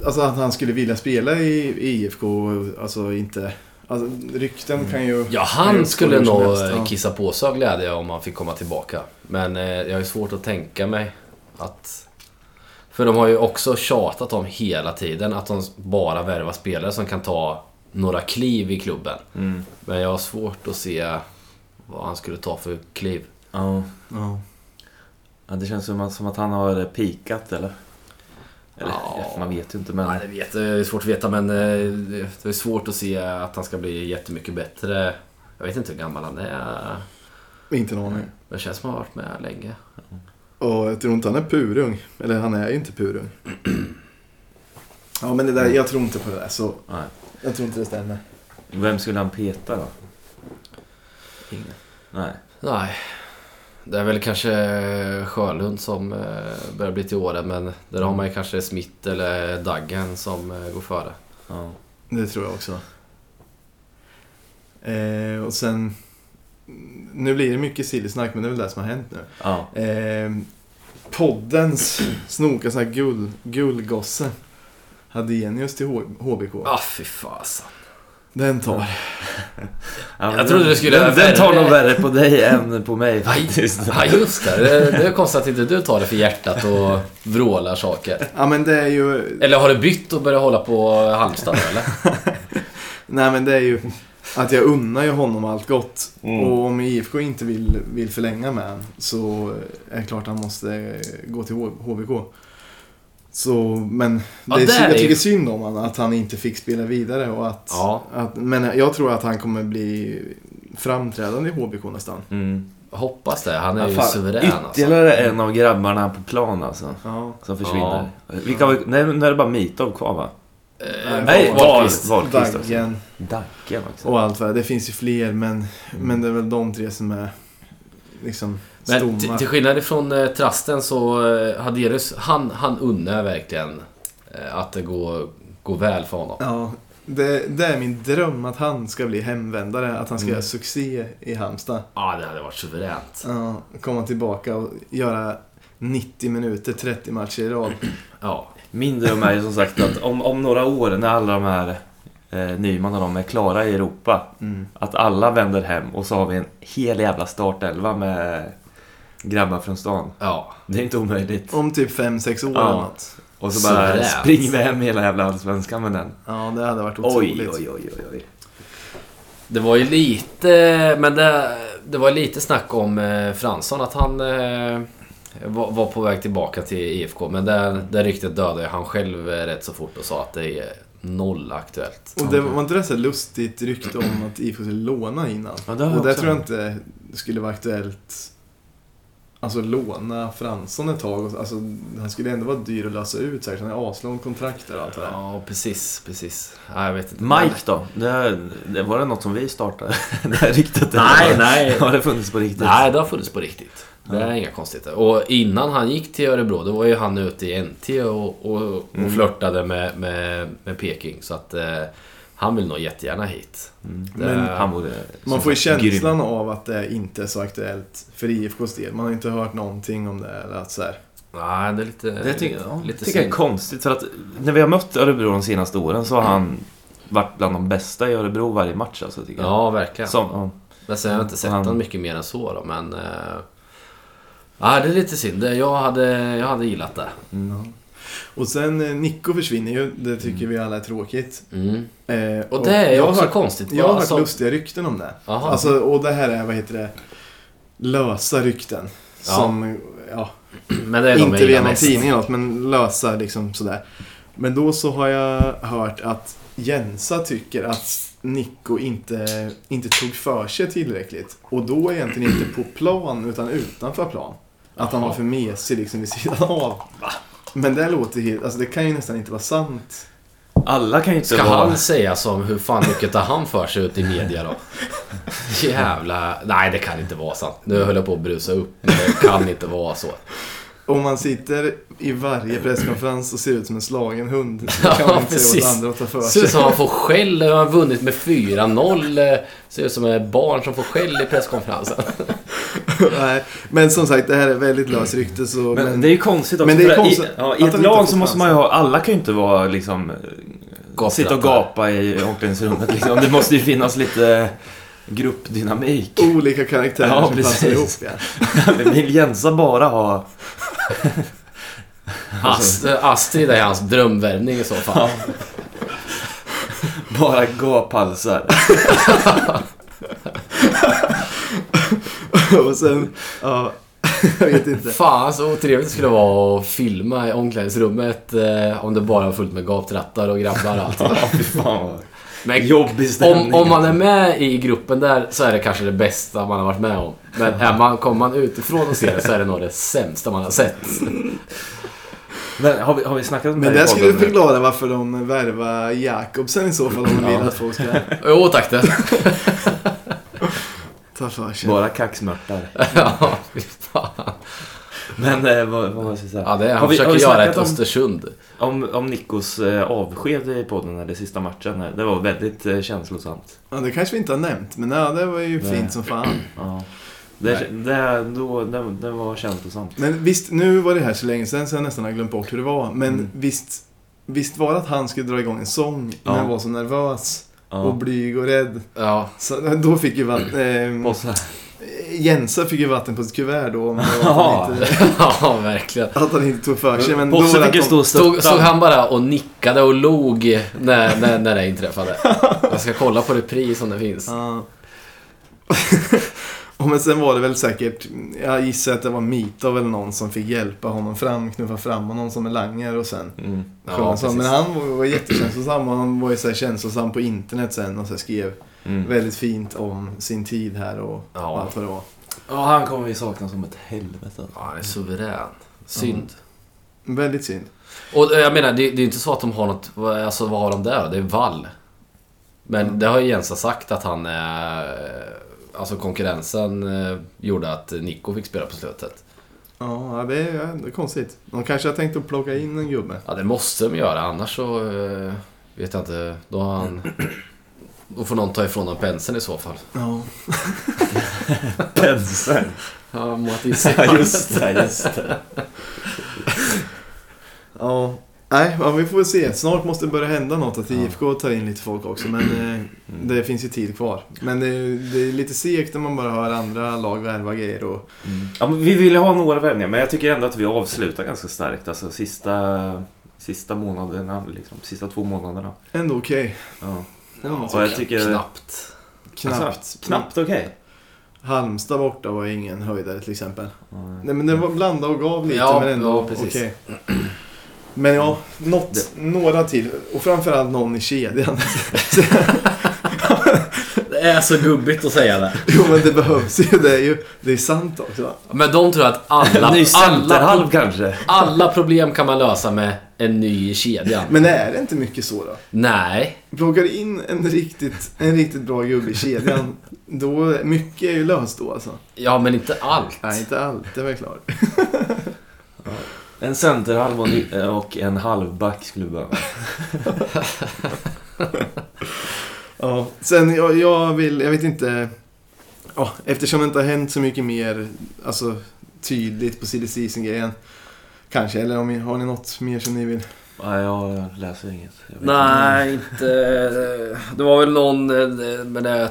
Alltså att han skulle vilja spela i i IFK, alltså inte... Alltså rykten kan ju...
ja,
kan ju
han skulle
uppstå hur
nog eh,
som helst, ja.
kissa på sig av glädje om han fick komma tillbaka. Men eh, jag har ju svårt att tänka mig att... För de har ju också tjatat om hela tiden att de bara värvar spelare som kan ta några kliv i klubben. Men jag har svårt att se vad han skulle ta för kliv.
Ja.
Ja.
ja. Det känns som att, som att han har peakat eller? Eller,
Ja.
man vet ju inte men...
Nej, det, vet, det är svårt att veta men eh, det är svårt att se att han ska bli jättemycket bättre. Jag vet inte hur gammal han är.
Inte någon aning.
Men det känns som att han har varit med länge.
Och jag tror inte han är purung. Eller han är ju inte purung. Ja men det där, jag tror inte på det där så...
Nej.
Jag tror inte det stämmer.
Vem skulle han peta då?
Ingen.
Nej.
Nej. Det är väl kanske Sjölund som eh, börjar bli till åren men där har man ju kanske Smith eller Daggen som eh, går före.
Ja.
Det tror jag också. Eh, och sen... Nu blir det mycket sillsnack men det är väl det som har hänt nu.
ja.
Eh, poddens snoka sån här guld, guldgosse. Hadenius till H- HBK.
Ah fy fasen.
Den tar.
Ja, men
Jag trodde
den-
du skulle göra
den, den
värre.
tar nog värre på dig än på mig faktiskt.
Ja just det, det, det är konstigt att inte du tar det för hjärtat och vrålar saker.
Ja men det är ju...
Eller har du bytt och börjat hålla på Halmstad eller?
Nej men det är ju att jag unnar ju honom allt gott.
Mm.
Och om IFK inte vill, vill förlänga med han så är det klart han måste gå till H- HBK. Så, men
Ja,
det är,
där
sy- jag
är ju-
tycker synd om honom att han inte fick spela vidare. Och att,
Ja.
att, men jag tror att han kommer bli framträdande i HBK nästan.
Mm.
Jag Hoppas det. Han är
Ja,
ju
fan,
suverän alltså.
Ytterligare en av grabbarna på plan alltså.
Ja.
Som försvinner. Vilka var, nej, nu är det bara Mitov kvar va?
Eh,
Nej,
Wahlqvist.
Wahlqvist. Wahlqvist också.
Daggen
Dacke också.
och allt vad det är. Det finns ju fler men, men det är väl de tre som är liksom
Men
stomma.
till, till skillnad ifrån eh, Trasten så eh, Haderius, han, han unnar verkligen eh, att det går, går väl för honom.
Ja, det, det är min dröm att han ska bli hemvändare. Att han
Mm.
ska göra succé i Halmstad.
Ja, det hade varit suveränt.
Ja, komma tillbaka och göra 90 minuter, 30 matcher i rad.
Ja.
Min dröm är ju som sagt att om, om några år när alla de här eh, Nyman och de är klara i Europa.
Mm.
Att alla vänder hem och så har vi en hel jävla startelva med grabbar från stan.
ja.
Det är inte omöjligt.
Om typ 5-6 år
Ja.
eller något.
Och så bara
Suveränt.
springer vi hem hela jävla allsvenskan med den.
Ja, det hade varit otroligt.
Oj, oj, oj, oj, oj.
Det var ju lite, men det, det var lite snack om eh, Fransson att han eh, var, var på väg tillbaka till IFK. Men det, det ryktet dödade ju han själv eh, rätt så fort och sa att det är noll aktuellt.
Och det var inte det så här lustigt rykte om att IFK skulle låna innan?
Ja, det har jag
och det
också
tror jag
hört.
inte skulle vara aktuellt. Alltså låna Fransson ett tag. och- Alltså, han skulle ändå vara dyr att lösa ut säkert. Han har aslång kontrakt och allt det där.
Ja, precis, precis. Nej, jag vet inte.
Mike då? Det, det, var det något som vi startade? Det här ryktet?
Nej, nej.
Har det funnits på riktigt?
Nej, det har funnits på riktigt. Det är inga konstigheter. Och innan han gick till Örebro, då var ju han ute i NT och, och, och flörtade med, med, med Peking. Så att eh, han vill nog jättegärna hit. Det,
Men
Mm. Han borde... som
Man får ju
sagt, grym.
känslan av att det inte är så aktuellt för IFKs del. Man har inte hört någonting om det. Eller att så här.
Nej, det är lite,
Det Eh, tycker jag,
lite
tycker jag är
synd.
konstigt för att när vi har mött Örebro de senaste åren så har han varit bland de bästa i Örebro varje match alltså, tycker jag.
Ja, verkligen.
Som, ja.
Men sen har jag inte sett
Han-
honom mycket mer än så då, men... Eh, ja, det är lite synd. Det- Jag hade, jag hade gillat det.
Ja. Och sen eh, Nico försvinner ju. Det tycker vi alla är tråkigt.
Mm.
Eh,
Och det är ju
jag har
också
hört-
konstigt.
Jag har hört
Alltså-
lustiga rykten om det.
Jaha.
Alltså, och det här är, vad heter det, lösa rykten.
Ja.
Som, ja,
Men det är de jag
inte
gillar
via någon
mest.
tidning eller något, men lösa liksom sådär. Men då så har jag hört att Jensa tycker att Nico inte, inte tog för sig tillräckligt. Och då egentligen inte på plan, utan utanför plan. Att han var för mesig liksom vid sidan av. Men det låter helt, alltså det kan ju nästan inte vara sant.
Alla kan ju inte
Ska
vara...
han säga som hur fan mycket tar han för sig ute i media då? Jävla... Nej, det kan inte vara sant. Nu höll jag på att brusa upp, men det kan inte vara så.
Om man sitter i varje presskonferens och ser ut som en slagen hund. Då kan man
Ja,
inte säga
precis.
åt andra att ta för
Ser
sig.
ut som han får skäll, han har vunnit med 4-0. eh, Ser ut som ett barn som får skäll i presskonferensen.
Nej, men som sagt, det här är väldigt löst rykte. Så,
Men, det är ju konstigt också.
men det är
för
konstigt
I, ja,
att
i
de
ett
inte
lag
får
så måste man ju ha... Alla kan ju inte vara liksom... eh, Sitta och
Gaprattar.
gapa i omklädningsrummet liksom. Det måste ju finnas lite gruppdynamik.
Olika karaktärer
Ja,
som passar ihop.
precis.
Ja.
Vill Jensa bara ha... Alltså,
Ast, Astrid är hans drömvärvning i så fall.
Bara gaphalsar?
Och sen, ja, jag vet inte.
Fan så otrevligt skulle det vara att filma i omklädningsrummet eh, om det bara var fullt med gaptrattar och grabbar och allt.
Ja, fy fan vad...
Men
Jobbig stämning.
om, om man är med i gruppen där så är det kanske det bästa man har varit med om. Men är man, kommer man utifrån och ser det så är det nog det sämsta man har sett.
Men har vi, har vi snackat om
Men
det
det
här i
skulle
podden nu?
förklara varför de värvar Jakobsen i så fall om de vill att folk ska
Jo tack det.
ta för sig.
Bara kaxmörtar.
Ja, fy fan.
Men eh, vad, vad måste jag säga?
Ja, det är, han
har vi,
försöker
har vi
göra ett
snackat om,
Östersund.
om, om Nikos eh, avsked i podden, eller sista matchen? Här? Det var väldigt eh, känslosamt.
Ja, det kanske vi inte har nämnt, men ja, det var ju
Nej.
fint som fan.
Ja. Det, det, då, det, det var känslosamt.
Men visst, nu var det här så länge sedan så jag nästan har glömt bort hur det var. Men
Mm.
visst, visst var det att han skulle dra igång en sång
Ja.
när han var så nervös och
Ja.
blyg och rädd.
Ja,
Så, då fick ju vatten... Eh,
Och så-
Jensa fick ju vatten på ett kuvert då om det var att, han
Ja.
inte,
ja verkligen.
att han inte tog för sig. Men då var
Bosse
det
fick
att
ju
de-
stå och
Stod, stod
stötta.
han bara och nickade och log när, när, när det inträffade. Jag ska kolla på repris om det finns.
Ja. och men sen var det väl säkert, jag gissar att det var Mitov eller någon som fick hjälpa honom fram, knuffa fram honom som en langare och sen
Mm.
sjöng
Ja,
han så. Men
precis.
han var, var jättekänslosam och han var ju så här känslosam på internet sen och så här skrev
Mm.
väldigt fint om sin tid här och
Ja.
allt vad det var.
Ja, han kommer vi sakna som ett helvete.
Ja, han är suverän. Synd.
Väldigt synd.
Och eh, jag menar, det, det är ju inte så att de har något... vad- Alltså vad har de där då? Det är vall. Men det har ju Jensa sagt att han... Eh, alltså konkurrensen eh, gjorde att Nico fick spela på slutet.
Ja, det är, ja, det är konstigt. De kanske har tänkt att plocka in en gubbe.
Ja, det måste de göra. Annars så... Eh, vet jag inte. Då har han... Då får någon ta ifrån honom penseln i så fall.
Ja.
Penseln.
Ja,
Ja, just det, just det.
ja. Nej, ja, vi får väl se. Snart måste det börja hända något att IFK tar in lite folk också. Men eh, Det finns ju tid kvar. Men det är, det är lite segt när man bara hör andra lag värva grejer. Och,
Mm. Ja, men vi ville ha några värvningar, men jag tycker ändå att vi avslutar ganska starkt. Alltså sista, sista månaderna, liksom, sista två månaderna.
ändå okej.
Ja.
Ja,
Så jag tycker...
Knappt.
knappt.
Alltså, knappt okej.
Halmstad borta var ingen höjdare till exempel. Nej, men det var blandad och gav lite,
Ja,
men ändå
ja,
okej.
precis.
Men ja, något, några till. Och framförallt någon i kedjan.
Det är så gubbigt att säga det.
jo, men det behövs ju. Det är ju det är sant också.
Men de tror att alla,
En ny
alla,
centerhalv kanske?
alla problem kan man lösa med en ny i kedjan.
Men är det inte mycket så då?
Nej.
Plockar in en riktigt, en riktigt bra gubbe i kedjan, då... Mycket är ju löst då alltså.
Ja, men inte allt.
Nej, inte allt. Det var jag klar.
En centerhalv och en- eh, och en halvback skulle vi behöva.
Ja, sen jag, jag vill, jag vet inte. Ja, eftersom det inte har hänt så mycket mer alltså, tydligt på silly season-grejen. Kanske, eller om, ni- har ni något mer som ni vill?
Nej, jag läser inget. Jag vet
Nej, inte... Det var väl någon... Men det är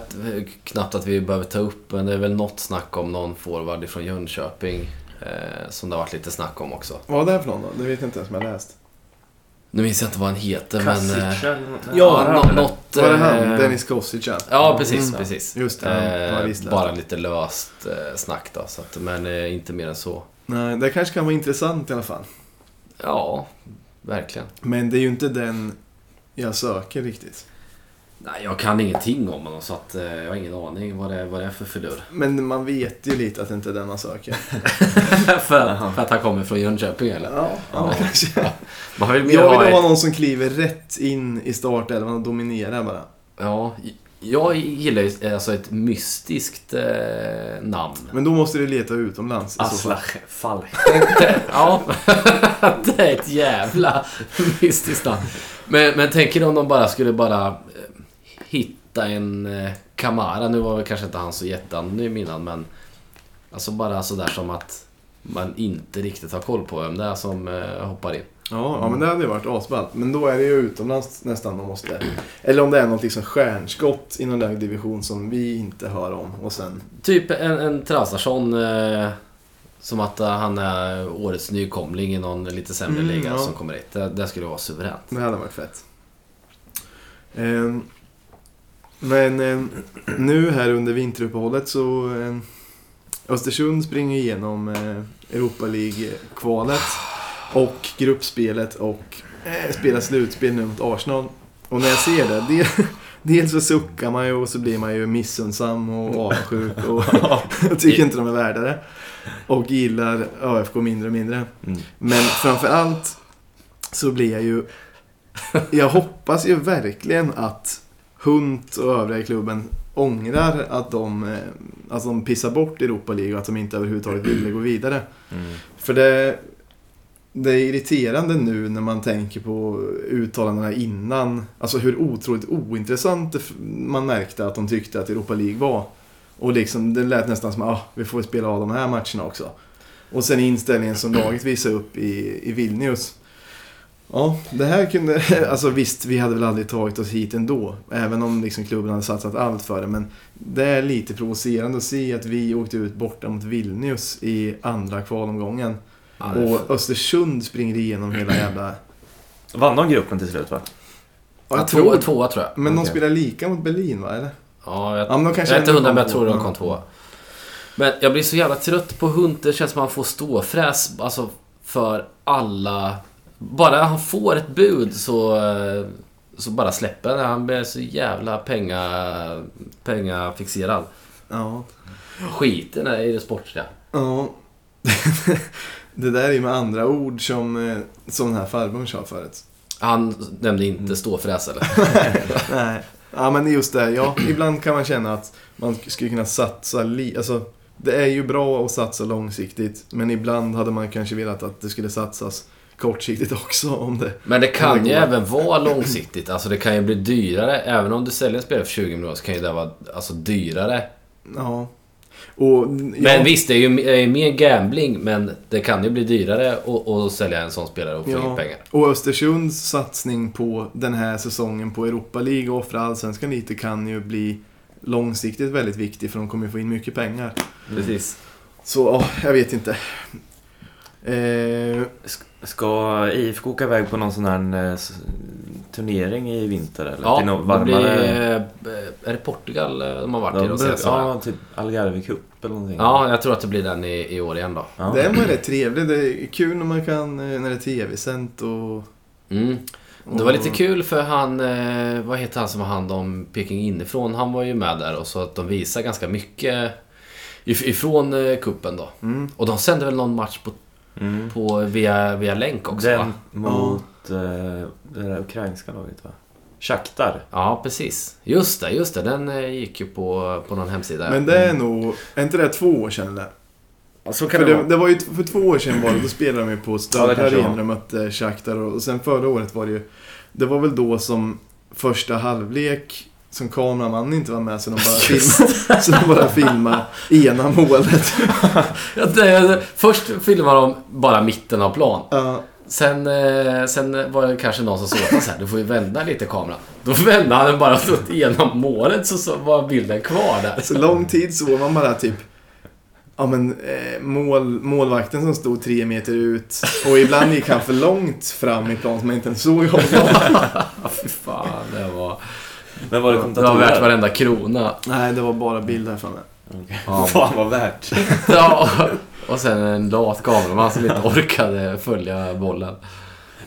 knappt att vi behöver ta upp. Men det är väl något snack om någon forward från Jönköping. Eh, som det har varit lite snack om också.
Vad var det här för någon då? Det vet jag inte ens om jag läst.
Nu minns jag inte vad han heter,
inte.
men... eh,
Kasic eller något.
Ja, nå-
eller?
något...
Var det han?
eh,
Dennis Kosic ja.
Ja, precis,
Mm.
precis.
Just det, han var
Eh,
visst läst.
bara lite löst eh, snack då, så att, men eh, inte mer än så.
Nej, det kanske kan vara intressant i alla fall.
Ja, verkligen.
Men det är ju inte den jag söker riktigt.
Nej, jag kan ingenting om honom så att, eh, jag har ingen aning vad det, vad det är för filur.
Men man vet ju lite att det inte är den man söker.
för, att, för att han kommer från Jönköping eller?
Ja, ja. kanske.
Man vill mer
Jag
ha
vill
ett,
ha någon som kliver rätt in i startelvan och dominerar bara.
Ja, j- jag gillar ju alltså ett mystiskt eh, namn.
Men då måste du leta utomlands i så fall.
Aslach Falk.
Ja, det är ett jävla mystiskt namn. Men, men tänk er om de bara skulle bara eh, hitta en eh, Kamara. Nu var väl kanske inte han så jätteanonym innan, men alltså bara sådär som att man inte riktigt har koll på vem det är som eh, hoppar in.
Ja, ja, men det hade ju varit asballt. Men då är det ju utomlands nästan man måste. Eller om det är något liksom stjärnskott i någon där division som vi inte hör om. Och sen...
Typ en, en Trasarsson eh, som att eh, han är årets nykomling i någon lite sämre
Mm,
liga
ja.
som kommer hit. Det, det skulle vara suveränt.
Det hade varit fett. Ehm, Men ehm, nu här under vinteruppehållet så ehm, Östersund springer igenom eh, Europa League-kvalet och gruppspelet och eh, spelar slutspel nu mot Arsenal. Och när jag ser det, det dels så suckar man ju och så blir man ju missundsam och avundsjuk och tycker inte de är värda det. Och gillar ÖFK mindre och mindre.
Mm.
Men framför allt så blir jag ju... Jag hoppas ju verkligen att Hunt och övriga i klubben ångrar att de, eh, att de pissar bort Europa League och att de inte överhuvudtaget ville gå vidare.
Mm.
För det, det är irriterande nu när man tänker på uttalandena innan. Alltså hur otroligt ointressant det f- man märkte att de tyckte att Europa League var. Och liksom, det lät nästan som att ah, vi får spela av de här matcherna också. Och sen inställningen som laget visade upp i, i Vilnius. Ja, det här kunde... Alltså visst, vi hade väl aldrig tagit oss hit ändå. Även om liksom klubben hade satsat allt för det. Men det är lite provocerande att se att vi åkte ut borta mot Vilnius i andra kvalomgången.
Ja, det är
Och Östersund springer igenom hela jävla...
Vann de gruppen till slut va?
Ja,
Ja, tvåa, tvåa tror jag.
Men de
Okej.
spelar lika mot Berlin va, eller?
Ja, jag
Ja, men de kanske
jag är inte
ändå
hundra,
kom
men jag tror
tvåa.
de kom tvåa. Men jag blir så jävla trött på Hunt. Det känns som att han får ståfräs alltså, för alla... Bara han får ett bud så, eh, så bara släpper han det. Han blir så jävla penga, pengafixerad.
Ja.
Skiten är i det sportsliga.
Ja. det där är ju med andra ord som, eh, som den här farbrorn sa förut.
Han nämnde
Mm.
inte ståfräs eller?
Nej. Ja, men just det. Ja, ibland kan man känna att man skulle kunna satsa... Li- alltså, det är ju bra att satsa långsiktigt, men ibland hade man kanske velat att det skulle satsas kortsiktigt också. Om det...
Men det
Ja, det
kan ju
går.
även vara långsiktigt. Alltså det kan ju bli dyrare. Även om du säljer en spelare för 20 miljoner så kan ju det vara alltså, dyrare
Ja. Och,
Men
ja.
visst, det är ju det är ju mer gambling, men det kan ju bli dyrare att- att sälja en sån spelare och få in
Ja.
pengar.
Och Östersunds satsning på den här säsongen på Europa League och offra allsvenskan lite kan ju bli långsiktigt väldigt viktig för de kommer ju få in mycket pengar.
Mm. Precis.
Så ja, jag vet inte. Eh,
Ska IFK åka iväg på någon sån här eh, s- turnering i vinter eller?
Ja,
Till någon
det blir...
varmare...
eh, Är det Portugal eh, de har varit i de
ja,
senaste åren?
ja, typ Algarve Cup eller någonting.
Ja, jag tror att det blir den i, i år igen då.
Ja.
Den var rätt trevlig. Det är kul när man kan, eh, när det är tv-sänt och...
Mm.
och...
Det var lite kul för han, eh, vad heter han som har hand om Peking inifrån? Han var ju med där och så att de visar ganska mycket if- ifrån eh, kuppen då.
Mm.
Och de sände väl någon match på,
Mm.
på via, via länk också va?
Den mot eh, det där ukrainska laget va? Shakhtar.
Ja, precis. Just det, just det. Den eh, gick ju på, på någon hemsida.
Men det är nog... Är inte det två år sedan eller?
Så
För det, det var ju t- för två år sedan var det, då spelade de ju på
Ja, det
Stöld
kanske
Arena
var.
och mötte Shakhtar och, och sen förra året var det ju... Det var väl då som första halvlek som kameramannen inte var med så de bara filmade, så de bara filmade ena målet.
Ja, det, det, först filmar de bara mitten av plan.
Ja,
Sen, eh, sen var det kanske någon som sa åt honom så här, du får ju vända lite kameran. Då vände han den bara så åt ena målet så, så var bilden kvar där.
Så lång tid såg man bara typ Ja men eh, mål, målvakten som stod tre meter ut och ibland gick han för långt fram i plan som man inte ens såg honom.
Ja, fy fan, det var...
Men var det
Det var värt
kommentatorer?
varenda krona.
Nej, det var bara bild här framme.
Ja.
Fan vad värt.
Ja, och sen en lat kameraman som inte orkade följa bollen.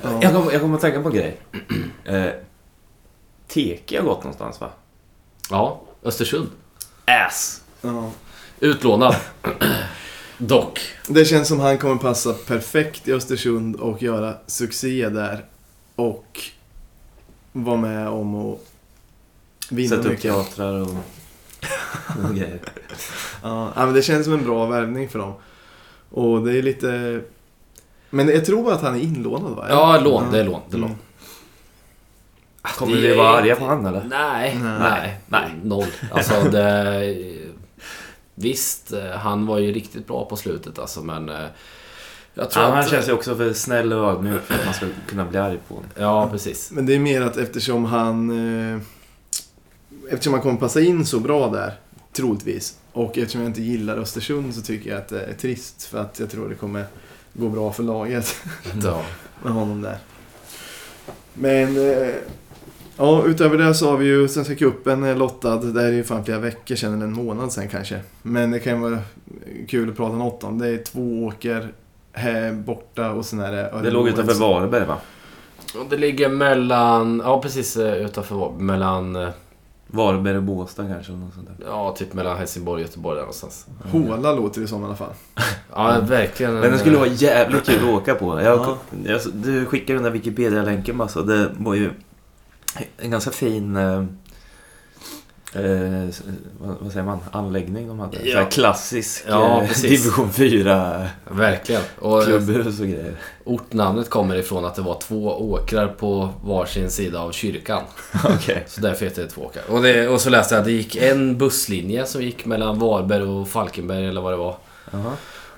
Ja.
Jag kommer jag kom att tänka på en grej. Eh, Teke har gått någonstans va?
Ja, Östersund.
Ass!
Ja.
Utlånad. Dock.
Det känns som han kommer passa perfekt i Östersund och göra succé där. Och vara med om att vinna
Sätta upp
mycket.
teatrar och, och grejer.
Ja, ja, men det känns som en bra värvning för dem. Och det är lite... Men jag tror att han är inlånad va?
Ja, lån. Det är lån. Det är lån.
Mm.
Kommer
det
vi
är-
vara arga på han eller?
Nej,
Nej.
nej, nej. Noll. Alltså det... Visst, eh, han var ju riktigt bra på slutet alltså men... eh, Jag tror
Ja, han
att...
känns ju också för snäll och ödmjuk för att man ska kunna bli arg på honom.
Ja, precis.
Men det är mer att eftersom han... Eh, eftersom han kommer passa in så bra där, troligtvis. Och eftersom jag inte gillar Östersund så tycker jag att det är trist. För att jag tror det kommer gå bra för laget
Ja.
med honom där. Men... Eh, ja, utöver det så har vi ju Svenska cupen eh, lottad. Det här är ju fan flera veckor sedan, eller en månad sedan kanske. Men det kan ju vara kul att prata något om. Det är två åker här borta och sen är det Örebro
Det låg utanför
FC.
Varberg va?
Och det ligger mellan... Ja, precis eh, utanför Varberg. Mellan... eh,
Varberg och Båstad kanske. eller Något sånt där.
Ja, typ mellan Helsingborg och Göteborg där någonstans.
Håla låter det som i alla fall.
Ja, verkligen.
Mm. Men det skulle vara jävligt kul att åka på. Jag,
Ja.
jag, du skickade den där Wikipedia-länken massa. Det var ju en ganska fin... Eh, eh, vad, vad säger man? Anläggning de hade.
Ja.
Så här klassisk
Ja,
eh,
precis.
division 4-klubbhus
Eh, Verkligen. Och
och grejer.
ortnamnet kommer ifrån att det var två åkrar på varsin sida av kyrkan.
Okej.
Så därför heter det två åkrar. Och, det, och så läste jag att det gick en busslinje som gick mellan Varberg och Falkenberg eller vad det var.
Jaha.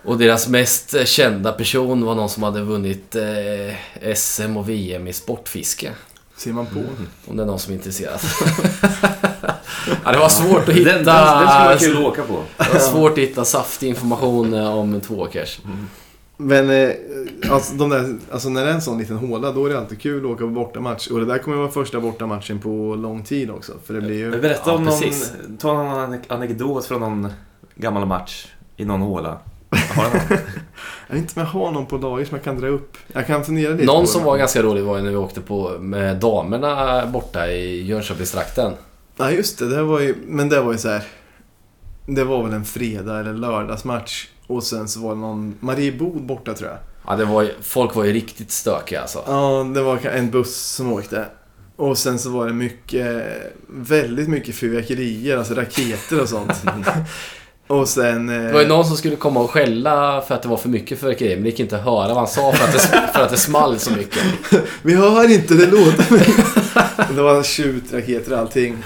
Och deras mest eh, kända person var någon som hade vunnit eh, SM och VM i sportfiske.
Ser man
Mm.
på.
Om det är någon som är intresserad. ja, det var svårt att
Den,
hitta...
den, den skulle vara kul att åka på.
det var svårt att hitta saftig information eh, om en tvååkers.
Mm.
Men eh, alltså, de där, alltså när det är en sån liten håla då är det alltid kul att åka på bortamatch. Och det där kommer vara första bortamatchen på lång tid också. För det blir
Men
ju...
Berätta
Ja,
om någon,
precis.
ta någon anek- anekdot från någon gammal match i någon håla. Har du någon?
Jag vet inte om jag har någon på lager som jag kan dra upp. Jag kan fundera lite på
Någon som
det.
var ganska rolig var ju när vi åkte på med damerna borta i Jönköpingstrakten.
Ja just det, det var ju... Men det var ju så här. Det var väl en fredag eller lördagsmatch. Och sen så var det någon Mariebod borta tror jag.
Ja, det var ju, folk var ju riktigt stökiga alltså.
Ja, det var en buss som åkte. Och sen så var det mycket, väldigt mycket fyrverkerier, alltså raketer och sånt. och sen... eh,
Det var ju någon som skulle komma och skälla för att det var för mycket fyrverkerier men det gick inte att höra vad han sa för att det, för att det small så mycket.
Vi hör inte, det låter men- Det var tjutraketer och allting.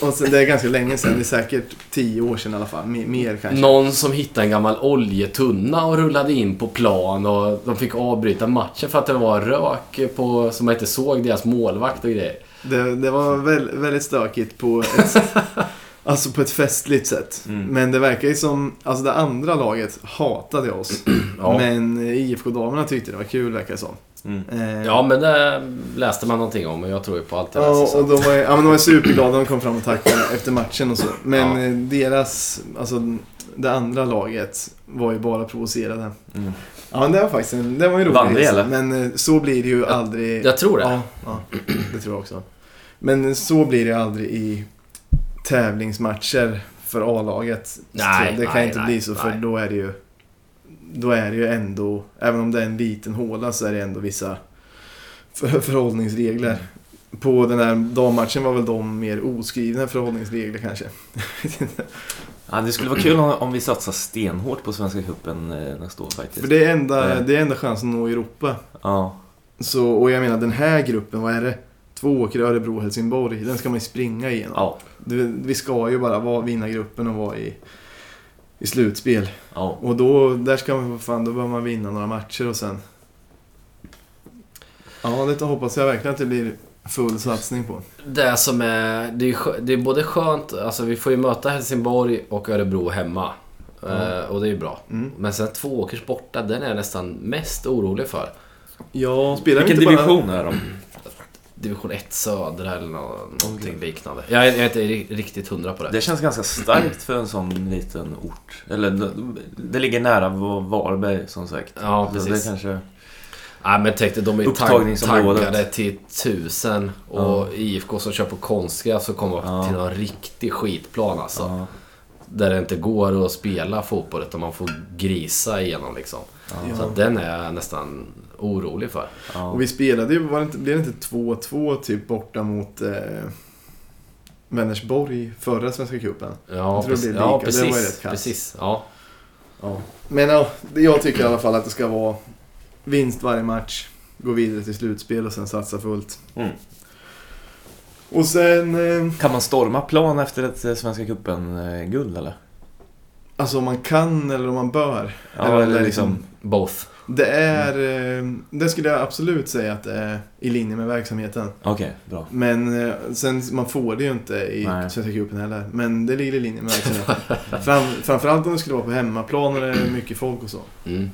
Och sen, det är ganska länge sedan, det är säkert tio år sedan i alla fall. Mer, mer kanske.
Någon som hittade en gammal oljetunna och rullade in på plan och de fick avbryta matchen för att det var rök på, som man inte såg, deras målvakt och grejer.
Det, det var väl, väldigt stökigt på ett, alltså på ett festligt sätt.
Mm.
Men det verkar ju som, alltså det andra laget hatade oss.
Ja.
Men IFK-damerna tyckte det var kul verkar det som.
Mm.
Eh,
Ja men det läste man någonting om och jag tror ju på allt det där. så-
Ja,
så
och
att-
de var, ju- ja, men de var superglada de kom fram och tackade efter matchen och så. Men eh, deras, alltså det andra laget var ju bara provocerade.
Mm.
Ja, men det var faktiskt en, det var ju roligt.
Vann vi, eller?
Men eh, så blir det ju aldrig.
Jag tror det.
Ja, ja, det tror jag också. Men eh, så blir det ju aldrig i tävlingsmatcher för A-laget.
Nej,
Så det kan
nej,
inte
nej,
bli så, för
nej.
då är det ju... Då är det ju ändå, även om det är en liten håla, så är det ändå vissa för- förhållningsregler. På den här dammatchen var väl de mer oskrivna förhållningsregler kanske.
Ja, det skulle vara kul om, om vi satsar stenhårt på Svenska cupen eh, nästa år
För
faktiskt.
det är enda,
Mm.
det är enda chansen att nå Europa.
Ja.
Så, och jag menar den här gruppen, vad är det? Två åker Örebro och Helsingborg, den ska man ju springa igenom.
Ja.
Du, vi ska ju bara vara, vinna gruppen och vara i, i slutspel.
ja.
Och då, där ska man, fan, då behöver man vinna några matcher och sen... Ja, det hoppas jag verkligen att det blir full satsning på.
Det som är, det är, skö- det är både skönt, alltså vi får ju möta Helsingborg och Örebro hemma. Eh, och det är ju bra.
Mm.
Men sen två åkers borta, den är jag nästan mest orolig för.
Ja, spelar vi
Vilken
inte
division är de?
Division 1 södra eller nå- någonting liknande. Jag är, jag är inte ri- riktigt hundra på det.
Det känns ganska starkt för en sån liten ort. Eller det- det ligger nära Va- Varberg som sagt.
Ja,
Så
precis.
Det kanske...
Nej men tänk dig, de är ju tagg,
Upptagningsområdet.
taggade till tusen. Och IFK som kör på konstgräs så kommer
Ja.
till någon riktig skitplan alltså.
Ja.
Där det inte går att spela fotboll utan man får grisa igenom liksom. Så att den är jag nästan orolig för.
Ja.
Och vi spelade ju, var det inte, blev det inte 2-2 typ borta mot eh, Vänersborg förra Svenska cupen?
Ja,
Jag tror det blir
precis.
lika.
Ja,
Det var ju
precis.
rätt kass.
precis. Ja.
Ja. Men ja, det- jag tycker i alla fall att det ska vara vinst varje match, gå vidare till slutspel och sen satsa fullt.
Mm.
Och sen, eh,
Kan man storma plan efter ett eh, Svenska cupen-guld eller?
alltså om man kan eller om man bör.
Ja,
Eller-
eller,
eller
liksom...
Both.
Det är, eh, det skulle jag absolut säga att det är i linje med verksamheten.
Okej, bra.
Men eh, sen, man får det ju inte i
Nej.
Svenska cupen heller. Men det ligger i linje med verksamheten. Fram, framförallt om det skulle vara på hemmaplan och det är mycket folk och så.
Mm.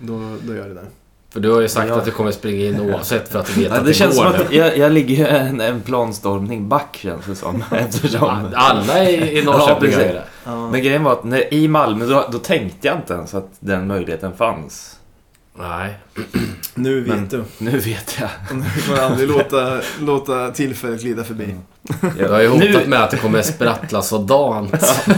Då, då gör det det.
För du har ju sagt
Ja.
att du kommer springa in oavsett för att du vet
Ja,
att
det känns
går
som
nu.
att jag, jag ligger ju en, en planstormning back känns det som. Eftersom...
Alla i, i Norrköping
Ja,
gör
precis.
ju det.
Men grejen var att när, i Malmö då, då tänkte jag inte ens att den möjligheten fanns.
Nej.
Nu vet
Men-
du.
Nu vet jag.
Och nu kommer jag aldrig låta, låta tillfället glida förbi.
Du har ju hotat
nu,
med att det kommer sprattla sådant.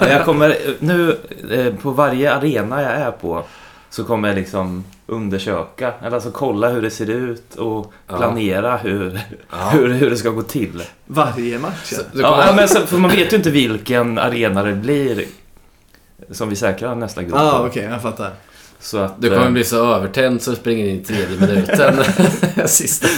jag kommer, nu eh, på varje arena jag är på så kommer jag liksom undersöka, eller alltså kolla hur det ser ut och
Ja.
planera hur,
Ja.
hur, hur det ska gå till.
Varje match. ja.
Du
Ja,
kommer-
ja, men så, för man vet ju inte vilken arena det blir som vi säkrar nästa guld.
Ah,
på.
Okej, jag fattar.
Så att...
Du kommer
eh,
bli så övertänd så du springer in i tredje minuten. Sista.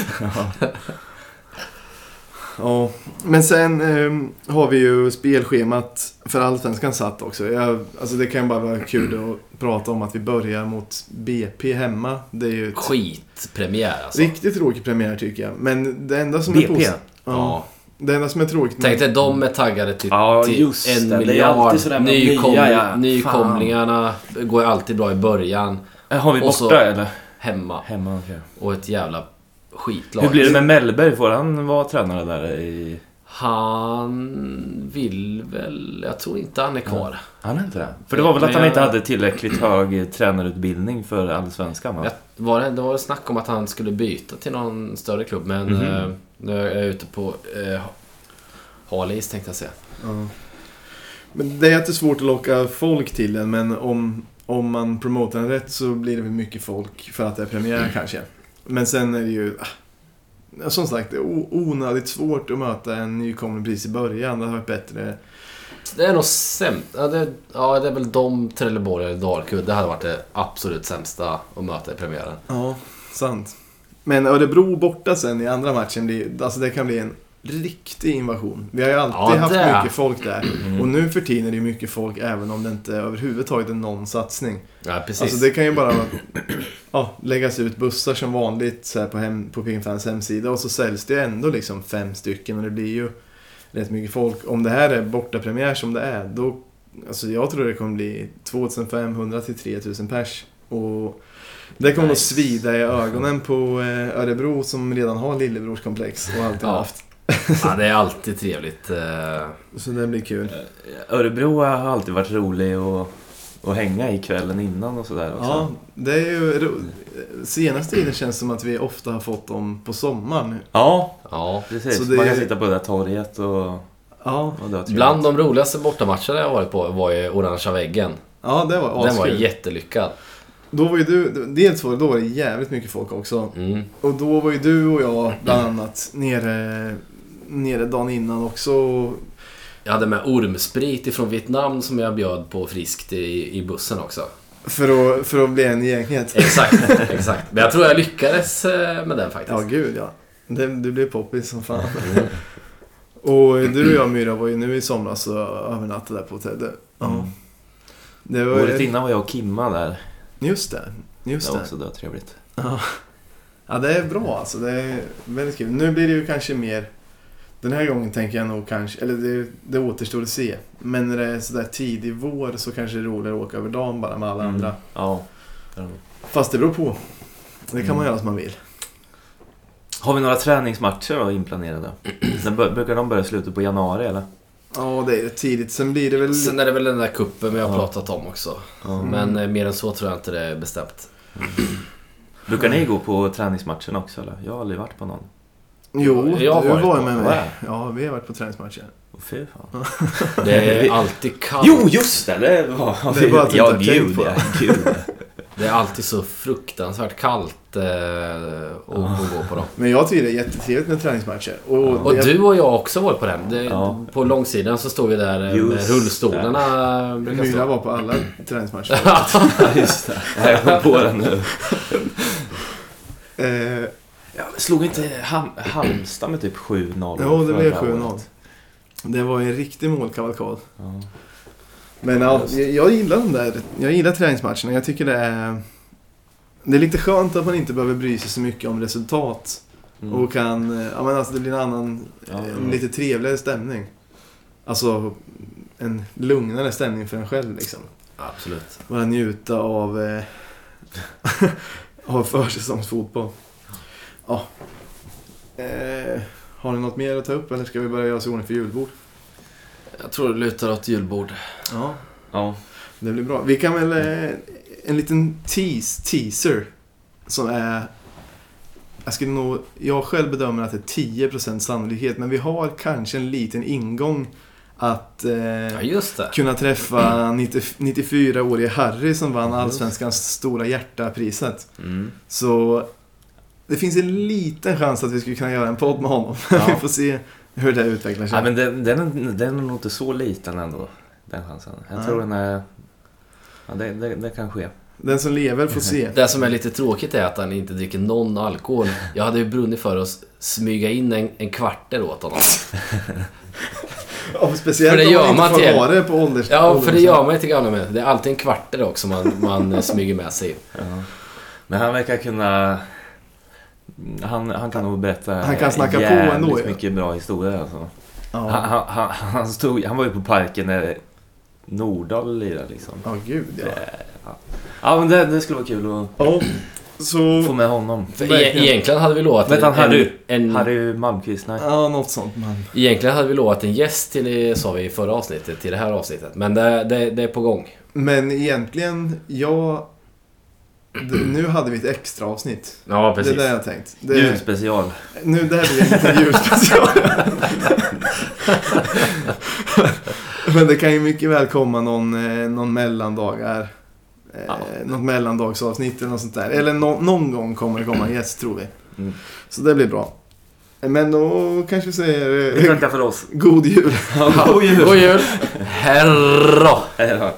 Ja. Men sen ehm, har vi ju spelschemat för Allsvenskan satt också. Jag, alltså det kan ju bara vara kul att prata om att vi börjar mot BP hemma. Det är ju ett
Skitpremiär alltså.
riktigt tråkig premiär tycker jag. Men det enda som är
BP.
positivt...
Ja.
Det enda som är tråkigt med-
Tänk dig, de är taggade till,
Ja,
till
just det.
en
Det är
miljard.
alltid sådär med de
Nykom,
nya, ja.
Nykomlingarna går ju alltid bra i början.
eh, Har vi
Och
borta
så-
eller?
Hemma.
Hemma, okej.
Och ett jävla skitlag.
Hur blir det med Mellberg? Får han vara tränare där i...
Han vill väl... Jag tror inte han är kvar.
Han är inte det? För det var väl att
Men
han
jag-
inte hade tillräckligt hög tränarutbildning för Allsvenskan va?
Jag, var det, det var snack om att han skulle byta till någon större klubb, men
Mhm.
eh, nu är jag ute på eh, hal is tänkte jag säga.
Ja. Men det är jättesvårt att locka folk till den, men om, om man promotar den rätt så blir det väl mycket folk för att det är premiär kanske. Men sen är det ju... ah, Som sagt, det är o- onödigt svårt att möta en nykomling precis i början. Det har varit bättre...
Det är nog sämst. Ja, det, ja, det är väl de, Trelleborg eller Dalkurd. Det hade varit det absolut sämsta att möta i premiären.
Ja, sant. Men Örebro borta sen i andra matchen, blir, alltså det kan bli en riktig invasion. Vi har ju alltid
Ja,
haft
det.
mycket folk där. Och nu för tiden är det ju mycket folk även om det inte överhuvudtaget är någon satsning.
Ja, precis.
Alltså det kan ju bara ja, läggas ut bussar som vanligt så här på, hem, på Pingfans hemsida och så säljs det ju ändå liksom fem stycken men det blir ju rätt mycket folk. Om det här är bortapremiär som det är då, alltså jag tror det kommer bli 2500 till 3000 pers. Och det kommer
Nice.
att svida i ögonen på eh, Örebro som redan har lillebrorskomplex och alltid
Ja.
haft.
ja, det är alltid trevligt. eh,
Så det blir kul.
Örebro har alltid varit rolig och, och hänga i kvällen innan och sådär också.
Ja, det är ju... ro- Senaste tiden känns det som att vi ofta har fått dem på sommaren.
ja
Ja.
Så
precis.
det-
Man kan sitta på det där torget och,
Ja,
och dö
Bland de roligaste bortamatcherna jag varit på var ju Orangea väggen.
ja det var
Den var
askul.
jättelyckad.
Då var ju du, dels var det, då var det jävligt mycket folk också.
Mm.
Och då var ju du och jag bland annat nere, nere dagen innan också.
Jag hade med ormsprit ifrån Vietnam som jag bjöd på friskt i, i bussen också.
För att, för att bli en i gänget.
Exakt, exakt. Men jag tror jag lyckades eh, med
Ja,
den faktiskt.
gud ja. Det, du blev poppis som fan. Och du och jag Myra var ju nu i somras och övernattade där på hotell. Det- Ja. Det var
Året
ju...
innan var jag och Kimma där.
Just det.
Det
Just
var
det.
också dötrevligt.
Ja. Ja, det är bra alltså. Det är väldigt kul. Nu blir det ju kanske mer... Den här gången tänker jag nog kanske... Eller det, det återstår att se. Men när det är sådär tidig vår så kanske det är roligare att åka över dagen bara med alla
Mm.
andra.
Ja.
Fast det beror på. Det kan man
Mm.
göra som man vill.
Har vi några träningsmatcher då inplanerade? Sen bör- brukar de börja i slutet på januari eller?
Ja, det är rätt tidigt. Sen blir det väl...
Sen är det väl den där kuppen vi har
Ja.
pratat om också.
Ja.
Mm.
Men eh, mer än så tror jag inte det är bestämt.
Brukar ni gå på träningsmatchen också eller? Jag har aldrig varit på någon.
Jo,
Jag har
du
varit
var
på-
ju med
Vad
mig.
är
Ja, vi har varit på träningsmatcher.
Åh, Fy fan.
Det är alltid kallt.
Jo, just det! Det var...
Det är bara att du
ja,
inte har tänkt
gud,
på
ja,
det.
gud.
Det är alltid så fruktansvärt kallt eh, att
Ah.
att gå på dem.
Men jag tycker det är jättetrevligt med träningsmatcher. Och,
Och
jag-
du och jag har också varit på den. Det,
Ja.
På långsidan så står vi där eh, med
Just
rullstolarna. brukar stå.
Myra var på alla träningsmatcher.
Ja, just det. Ja, Jag kom på den nu.
eh,
Ja, men slog inte Ham- Halmstad med typ 7-0?
jo, det blev
förra
7-0.
året?
Det var en riktig målkavalkad.
Ja.
Men ja,
Just.
jag, jag gillar de där. Jag gillar träningsmatcherna. Jag tycker det är... Det är lite skönt att man inte behöver bry sig så mycket om resultat.
Mm.
Och kan... eh, Ja, men alltså det blir en annan...
Ja,
en
ja.
lite trevligare stämning. Alltså en lugnare stämning för en själv liksom.
Absolut.
Bara njuta av, eh, av försäsongsfotboll. Ja. Eh, har ni något mer att ta upp eller ska vi börja göra oss i ordning för julbord?
Jag tror det lutar åt julbord.
Ja.
Ja.
Det blir bra. Vi kan väl... Eh, en liten tease, teaser. Som är... Jag skulle nog... Jag själv bedömer att det är 10% sannolikhet. Men vi har kanske en liten ingång att...
Ja,
Eh,
just det.
kunna träffa 90 94-årige Harry som vann Allsvenskans stora hjärtapriset.
Mm.
Så det finns en liten chans att vi skulle kunna göra en podd med honom.
Ja.
vi får se hur det utvecklar sig.
ja men den, den, den är nog inte så liten ändå, den chansen. Jag
Nej.
tror den är... Ja, det, det, det kan ske.
Den som lever får se.
Det som är lite tråkigt är att han inte dricker någon alkohol. Jag hade ju brunnit för att s- smyga in en, en kvarter åt honom.
Om speciellt
För det
om
gör
man
man
inte
till.
får ha det på ålders...
Ja, för det
ålderdomshem.
gör man inte gamla människor. Det är alltid en kvarter också man, man eh, smyger med sig.
Ja. Men han verkar kunna... Han, han kan nog berätta
Han kan snacka på
jävligt
ändå, ju.
mycket bra historier alltså.
Ja,
Han, han, han, han, stod, han var ju på parken när Nordahl lirade liksom.
Ja, gud ja.
Ja men det, det skulle vara kul att
Ja,
få
så...
med honom.
För e-
Verkligen.
egentligen hade vi lovat...
Vet han Harry?
En, en,
Harry Malmqvist, nej.
Ja, något sånt. Man.
egentligen hade vi lovat en gäst till, det sa vi i förra avsnittet, till det här avsnittet. Men det, det, det är på gång.
Men egentligen, jag... D- Nu hade vi ett extra avsnitt.
Ja,
Det är det jag har tänkt. Det...
Julspecial.
Nu, det här blir en liten julspecial. Men det kan ju mycket väl komma någon, eh, någon mellandag här. Eh,
Ja.
Något mellandagsavsnitt eller något sånt där. Eller nå- någon gång kommer det komma en gäst tror vi.
Mm.
Så det blir bra. Men då kanske vi säger
Vi
eh,
tackar för oss.
god jul.
God jul!
God jul! Herra!
Hej då.